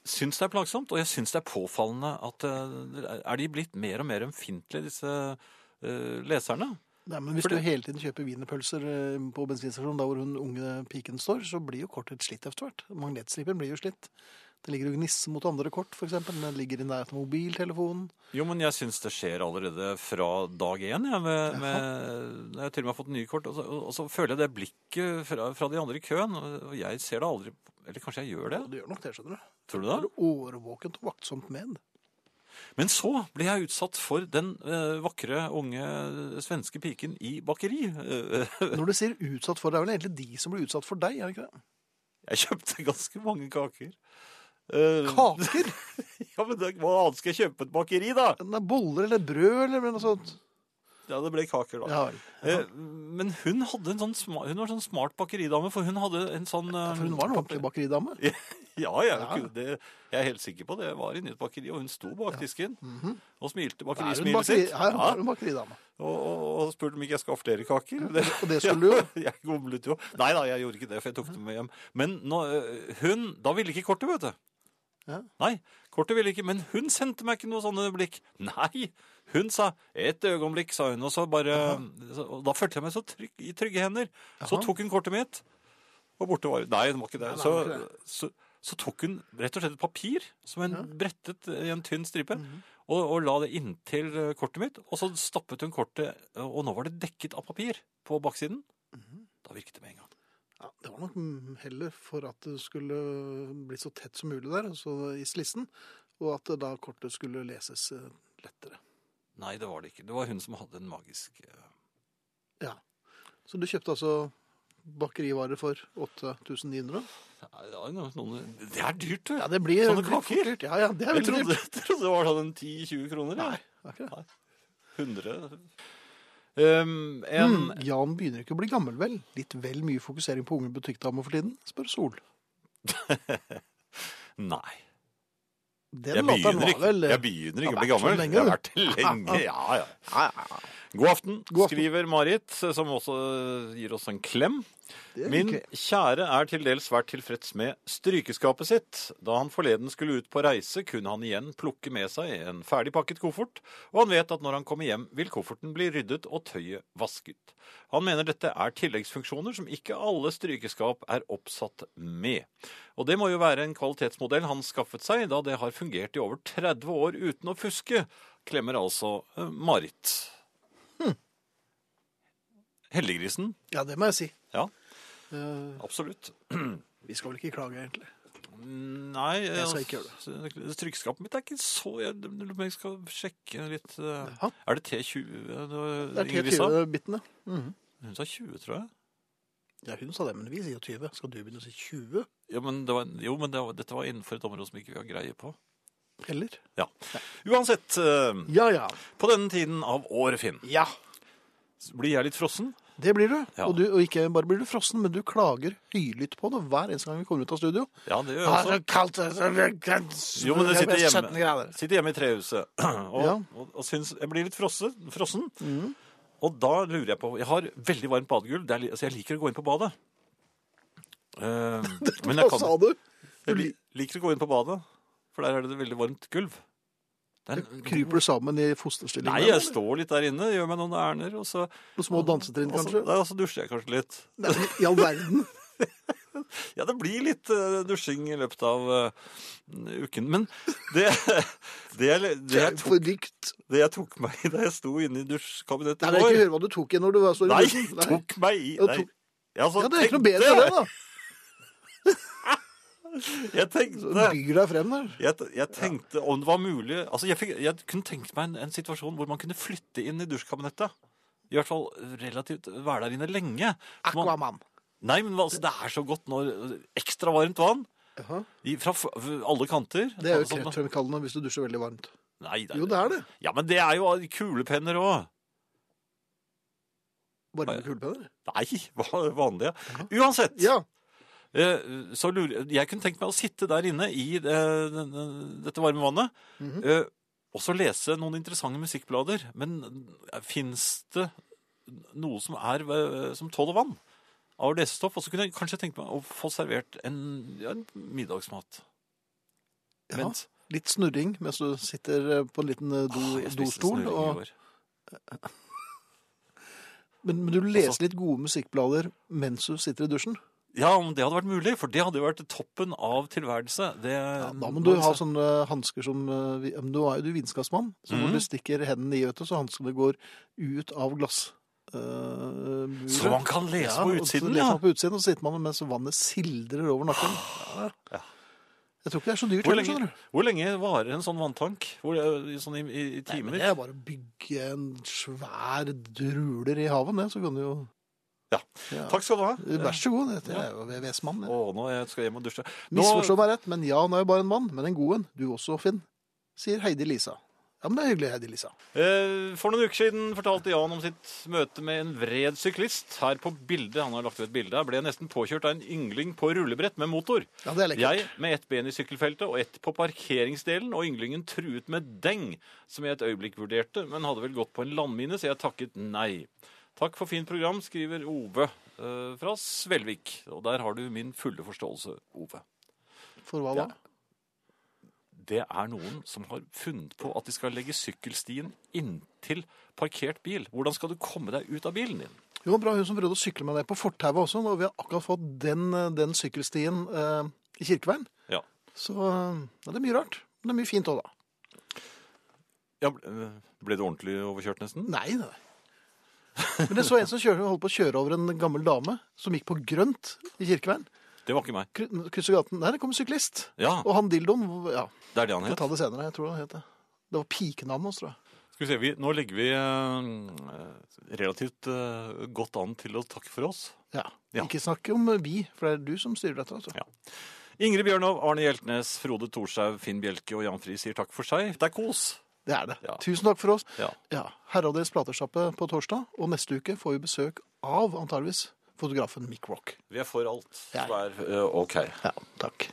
Speaker 2: syns det er plagsomt, og jeg syns det er påfallende at eh, Er de blitt mer og mer ømfintlige, disse eh, leserne?
Speaker 1: Nei, men Hvis
Speaker 2: For det-
Speaker 1: du hele tiden kjøper wienerpølser eh, på bensinstasjonen der hvor hun unge piken står, så blir jo kortet slitt etter hvert. Magnetstripen blir jo slitt. Det ligger og gnisser mot andre kort, f.eks. Den ligger i nærheten av mobiltelefonen.
Speaker 2: Jo, men jeg syns det skjer allerede fra dag én. Jeg, med, med, jeg har til og med har fått nye kort. Og så, og så føler jeg det blikket fra, fra de andre i køen. Og og jeg ser det aldri Eller kanskje jeg gjør det?
Speaker 1: Og det gjør nok det, skjønner du.
Speaker 2: Tror du
Speaker 1: Det
Speaker 2: det?
Speaker 1: er årvåkent og vaktsomt med.
Speaker 2: Men så ble jeg utsatt for den eh, vakre, unge svenske piken i bakeri. Eh, <laughs>
Speaker 1: Når du sier utsatt for, det er vel egentlig de som blir utsatt for deg, er det ikke det?
Speaker 2: jeg kjøpte ganske mange kaker. Eh,
Speaker 1: Kaker!
Speaker 2: ja, men det, Hva annet skal jeg kjøpe på et bakeri, da?
Speaker 1: Enten det er boller eller brød eller noe sånt.
Speaker 2: Ja, det ble kaker, da.
Speaker 1: Ja vel.
Speaker 2: Eh, men hun, hadde en sånn sma, hun var en sånn smart bakeridame, for hun hadde en sånn eh,
Speaker 1: For hun var en ordentlig bakeridame.
Speaker 2: <laughs> Ja, jeg,
Speaker 1: Ja.
Speaker 2: kunne- Det, jeg er helt sikker på det. Jeg var inne i et bakeri, og hun sto bak disken og
Speaker 1: Mhm. Er hun
Speaker 2: smilte bakerismilet
Speaker 1: bakeri...
Speaker 2: sitt.
Speaker 1: Ja, hun
Speaker 2: Ja,
Speaker 1: var en bakeridame.
Speaker 2: og, og, og spurte om ikke jeg skulle ha flere kaker. Det,
Speaker 1: Og det skulle
Speaker 2: <laughs>
Speaker 1: du jo.
Speaker 2: jeg gomlet jo. Nei da, jeg gjorde ikke det, for jeg tok det med hjem. Men nå, øh, hun Da ville ikke kortet, vet du.
Speaker 1: Ja.
Speaker 2: Nei, kortet ville ikke, men hun sendte meg ikke noe sånne blikk. Nei! Hun sa 'et øyeblikk', sa hun, og så bare så, og Da følte jeg meg så trygg, i trygge hender. Så
Speaker 1: Jaha.
Speaker 2: tok hun kortet mitt, og borte var Nei, det var ikke det.
Speaker 1: Nei, nei, det
Speaker 2: så,
Speaker 1: var ikke
Speaker 2: Så, så tok hun rett og slett et papir som hun brettet i en tynn stripe,
Speaker 1: Mhm.
Speaker 2: og, og la det inntil eh, kortet mitt. Og så stappet hun kortet, og nå var det dekket av papir på baksiden.
Speaker 1: Mhm.
Speaker 2: Da virket det med en gang.
Speaker 1: Ja, det var nok mm, heller for at det skulle bli så tett som mulig der, altså i slissen, og at det da kortet skulle leses eh, lettere.
Speaker 2: Nei, det var det ikke. Det var hun som hadde en magisk eh,
Speaker 1: Ja. Så du kjøpte altså bakerivarer for 8900?
Speaker 2: Ja, noen, noen, det er dyrt, du.
Speaker 1: Ja, det blir
Speaker 2: Sånne
Speaker 1: det blir
Speaker 2: kaker?
Speaker 1: fort dyrt. Ja, ja, det er
Speaker 2: jeg
Speaker 1: veldig
Speaker 2: trodde,
Speaker 1: dyrt.
Speaker 2: <laughs> jeg trodde det var sånn en 10-20 kroner.
Speaker 1: Nei, det er
Speaker 2: Ja.
Speaker 1: ikke det.
Speaker 2: 100 Ehm, En
Speaker 1: Mm, Jan begynner ikke å bli gammel, vel? Litt vel mye fokusering på unge butikkdamer for tiden, spør Sol.
Speaker 2: Nei.
Speaker 1: Den latteren
Speaker 2: Jeg begynner,
Speaker 1: var
Speaker 2: ikke,
Speaker 1: vel eh,
Speaker 2: jeg begynner ikke å bli
Speaker 1: har vært sånn
Speaker 2: gammel.
Speaker 1: lenge,
Speaker 2: Jeg har
Speaker 1: du.
Speaker 2: vært det lenge. Ja, ja.
Speaker 1: Ja, ja, ja.
Speaker 2: God aften,
Speaker 1: God aften.
Speaker 2: skriver Marit, eh, som også eh, gir oss en klem.
Speaker 1: Det
Speaker 2: Min
Speaker 1: liker jeg.
Speaker 2: kjære er til dels svært tilfreds med strykeskapet sitt. Da han forleden skulle ut på reise, kunne han igjen plukke med seg en ferdig pakket koffert, og han vet at når han kommer hjem, vil kofferten bli ryddet og tøyet vasket. Han mener dette er tilleggsfunksjoner som ikke alle strykeskap er oppsatt med. Og det må jo være en kvalitetsmodell han skaffet seg, da det har fungert i over 30 år uten å fuske, klemmer altså eh, Marit. Heldiggrisen.
Speaker 1: Ja, det må jeg si.
Speaker 2: Ja,
Speaker 1: Eh,
Speaker 2: absolutt.
Speaker 1: vi skal vel ikke klage, egentlig.
Speaker 2: Nei, altså,
Speaker 1: Jeg skal ikke gjøre
Speaker 2: det. Trykkskapet mitt er ikke så Jeg, lurer på om jeg skal sjekke litt eh,
Speaker 1: Ja.
Speaker 2: Er det T20
Speaker 1: Det er
Speaker 2: Ingrid sa?
Speaker 1: 20-bitene.
Speaker 2: Hun sa 20, tror jeg.
Speaker 1: Ja, hun sa det, men vi sier 20. Skal du begynne å si 20?
Speaker 2: Ja, men det var, jo, men det var, dette var innenfor et område som ikke vi har greie på.
Speaker 1: Eller?
Speaker 2: Ja. Uansett, eh,
Speaker 1: Ja, ja.
Speaker 2: på denne tiden av året, Finn,
Speaker 1: Ja.
Speaker 2: blir jeg litt frossen?
Speaker 1: Det blir du.
Speaker 2: Ja.
Speaker 1: Og, du. og ikke bare blir du frossen, men du klager høylytt på det hver eneste gang vi kommer ut av studio.
Speaker 2: Ja, det gjør jeg også.
Speaker 1: kaldt eh, det er
Speaker 2: Jo, men jeg sitter
Speaker 1: 17 grader.
Speaker 2: hjemme, sitter hjemme i trehuset <clears throat> og,
Speaker 1: Ja. Mm.
Speaker 2: og, og syns jeg blir litt frosse, frossen. Og da lurer jeg på Jeg har veldig varmt badegulv, det er li- så jeg liker å gå inn på badet.
Speaker 1: <laughs>
Speaker 2: Eh, men jeg,
Speaker 1: Hva sa
Speaker 2: kan,
Speaker 1: du?
Speaker 2: jeg li- liker å gå inn på badet, for der er det veldig varmt gulv. Det er en-
Speaker 1: Kryper du sammen i fosterstilling?
Speaker 2: Nei,
Speaker 1: der,
Speaker 2: jeg
Speaker 1: eller?
Speaker 2: står litt der inne, gjør meg noen ærender, og så,
Speaker 1: Noen små dansetrinn,
Speaker 2: og så,
Speaker 1: kanskje?
Speaker 2: ja, og så dusjer jeg kanskje litt.
Speaker 1: Nei, I all verden.
Speaker 2: Ja, det blir litt eh, dusjing i løpet av eh, uken. Men det, <laughs> det, jeg- <laughs> det jeg tok
Speaker 1: Forrykt.
Speaker 2: Det jeg tok meg i da jeg sto inne i dusjkabinettet
Speaker 1: Nei,
Speaker 2: i
Speaker 1: jeg vil ikke
Speaker 2: går
Speaker 1: høre hva du tok i når du var så
Speaker 2: Nei,
Speaker 1: liten.
Speaker 2: tok meg i
Speaker 1: Ja,
Speaker 2: nei.
Speaker 1: tok-
Speaker 2: Jeg, altså,
Speaker 1: Ja, det er ikke noe
Speaker 2: tenkte-
Speaker 1: bedre enn det, da.
Speaker 2: Jeg
Speaker 1: Så
Speaker 2: tenkte,
Speaker 1: Byr deg frem der.
Speaker 2: jeg, te- jeg tenkte om det var mulig altså, jeg, fikk, jeg kunne tenkt meg en, en situasjon hvor man kunne flytte inn i dusjkabinettet. I hvert fall relativt være der inne lenge. For Man,
Speaker 1: Aquaman.
Speaker 2: nei, men altså, Det er så godt når ekstra varmt vann
Speaker 1: Jaha.
Speaker 2: i, fra f- alle kanter.
Speaker 1: Det er jo
Speaker 2: Sånn-
Speaker 1: kreftfremkallende hvis du dusjer veldig varmt.
Speaker 2: Nei, det,
Speaker 1: Jo, det er det.
Speaker 2: Ja, Men det er jo kulepenner òg.
Speaker 1: Varme kulepenner.
Speaker 2: Nei, <laughs> hva- vanlige. Uansett.
Speaker 1: Ja.
Speaker 2: Eh, så lurer, jeg kunne tenkt meg å sitte der inne i eh, den- den- dette varme vannet
Speaker 1: Mhm.
Speaker 2: eh, og så lese noen interessante musikkblader. Men fins det noe som er eh, som tåler vann av lesestoff? Og så kunne jeg kanskje tenkt meg å få servert en, ja, en middagsmat.
Speaker 1: Ja.
Speaker 2: Mens-
Speaker 1: Litt snurring mens du sitter eh, på en liten eh, do,
Speaker 2: Åh, jeg spiste
Speaker 1: dostol.
Speaker 2: snurring i
Speaker 1: Og,
Speaker 2: går.
Speaker 1: men, men du
Speaker 2: Altså-
Speaker 1: leser litt gode musikkblader mens du sitter i dusjen.
Speaker 2: Ja, om det hadde vært mulig, for det hadde jo vært toppen av tilværelse. Det,
Speaker 1: Ja, da må du ha sånn- sånne hansker som eh, vi- men Du er jo du vitenskapsmann, så hvor
Speaker 2: Mhm.
Speaker 1: du stikker hendene i, vet du, så hanskene går ut av glass. eh, muret.
Speaker 2: Så man kan lese
Speaker 1: Ja,
Speaker 2: på
Speaker 1: og så
Speaker 2: utsiden,
Speaker 1: leser
Speaker 2: ja.
Speaker 1: man på utsiden, og så sitter man mens vannet sildrer over nakken.
Speaker 2: Ja.
Speaker 1: Jeg tror ikke det er så dyrt.
Speaker 2: Hvor
Speaker 1: heller, skjønner
Speaker 2: lenge,
Speaker 1: du.
Speaker 2: hvor lenge varer en sånn vanntank? Hvor, eh, sånn i, i,
Speaker 1: Nei,
Speaker 2: i
Speaker 1: men
Speaker 2: timer?
Speaker 1: det er bare å bygge en svær druler i haven, det, så kan du jo
Speaker 2: Ja. Takk skal du ha.
Speaker 1: Eh, Vær så god, det jeg er jo VVS-mann.
Speaker 2: Å, nå jeg skal jeg hjem og dusje. Nå,
Speaker 1: Misforstå meg rett, men ja, han er jo bare en mann, men en god en. Du også, Finn, sier Heidi Lisa. Ja, men det er hyggelig, Heidi Lisa.
Speaker 2: eh, for noen uker siden fortalte Jan om sitt møte med en vred syklist. Her på bildet, han har lagt ved et bilde, her, ble jeg nesten påkjørt av en yngling på rullebrett med motor.
Speaker 1: Ja, det er lekkert.
Speaker 2: Jeg med ett ben i sykkelfeltet og ett på parkeringsdelen, og ynglingen truet med deng, som jeg et øyeblikk vurderte, men hadde vel gått på en landmine, så jeg takket nei. Takk for fint program, skriver Ove eh, fra Svelvik. Og der har du min fulle forståelse, Ove.
Speaker 1: For hva da?
Speaker 2: Ja. Det er noen som har funnet på at de skal legge sykkelstien inntil parkert bil. Hvordan skal du komme deg ut av bilen din?
Speaker 1: Jo, bra hun som prøvde å sykle med deg på fortauet også, og vi har akkurat fått den, eh, den sykkelstien eh, i Kirkeveien.
Speaker 2: Ja.
Speaker 1: Så eh, ja, det er mye rart. Men det er mye fint òg, da.
Speaker 2: Ja, ble eh, ble du ordentlig overkjørt nesten?
Speaker 1: Nei, nei. Men jeg så en som kjørte, holdt på å kjøre over en gammel dame som gikk på grønt i Kirkeveien.
Speaker 2: Det var ikke meg.
Speaker 1: Kry- Krysser gaten. Der kom en syklist.
Speaker 2: Ja,
Speaker 1: Og han dildoen Ja,
Speaker 2: det er det han
Speaker 1: vi får
Speaker 2: het.
Speaker 1: ta det senere. jeg tror han het det. Det var pikenavnet hans, tror jeg.
Speaker 2: Skal vi se, vi, Nå ligger vi eh, relativt eh, godt an til å takke for oss.
Speaker 1: Ja.
Speaker 2: Ja.
Speaker 1: Ikke snakk om vi, for det er du som styrer dette. Altså.
Speaker 2: Ja. Ingrid Bjørnov, Arne Hjeltnes, Frode Thorshaug, Finn Bjelke og Jan Friis sier takk for seg. Det er kos!
Speaker 1: Det er det.
Speaker 2: Ja.
Speaker 1: Tusen takk for oss.
Speaker 2: Ja.
Speaker 1: Ja, Herreavdelens platesjappe på torsdag, og neste uke får vi besøk av antageligvis fotografen Mick Rock.
Speaker 2: Vi er for alt
Speaker 1: Ja,
Speaker 2: som er eh, OK.
Speaker 1: Ja, takk.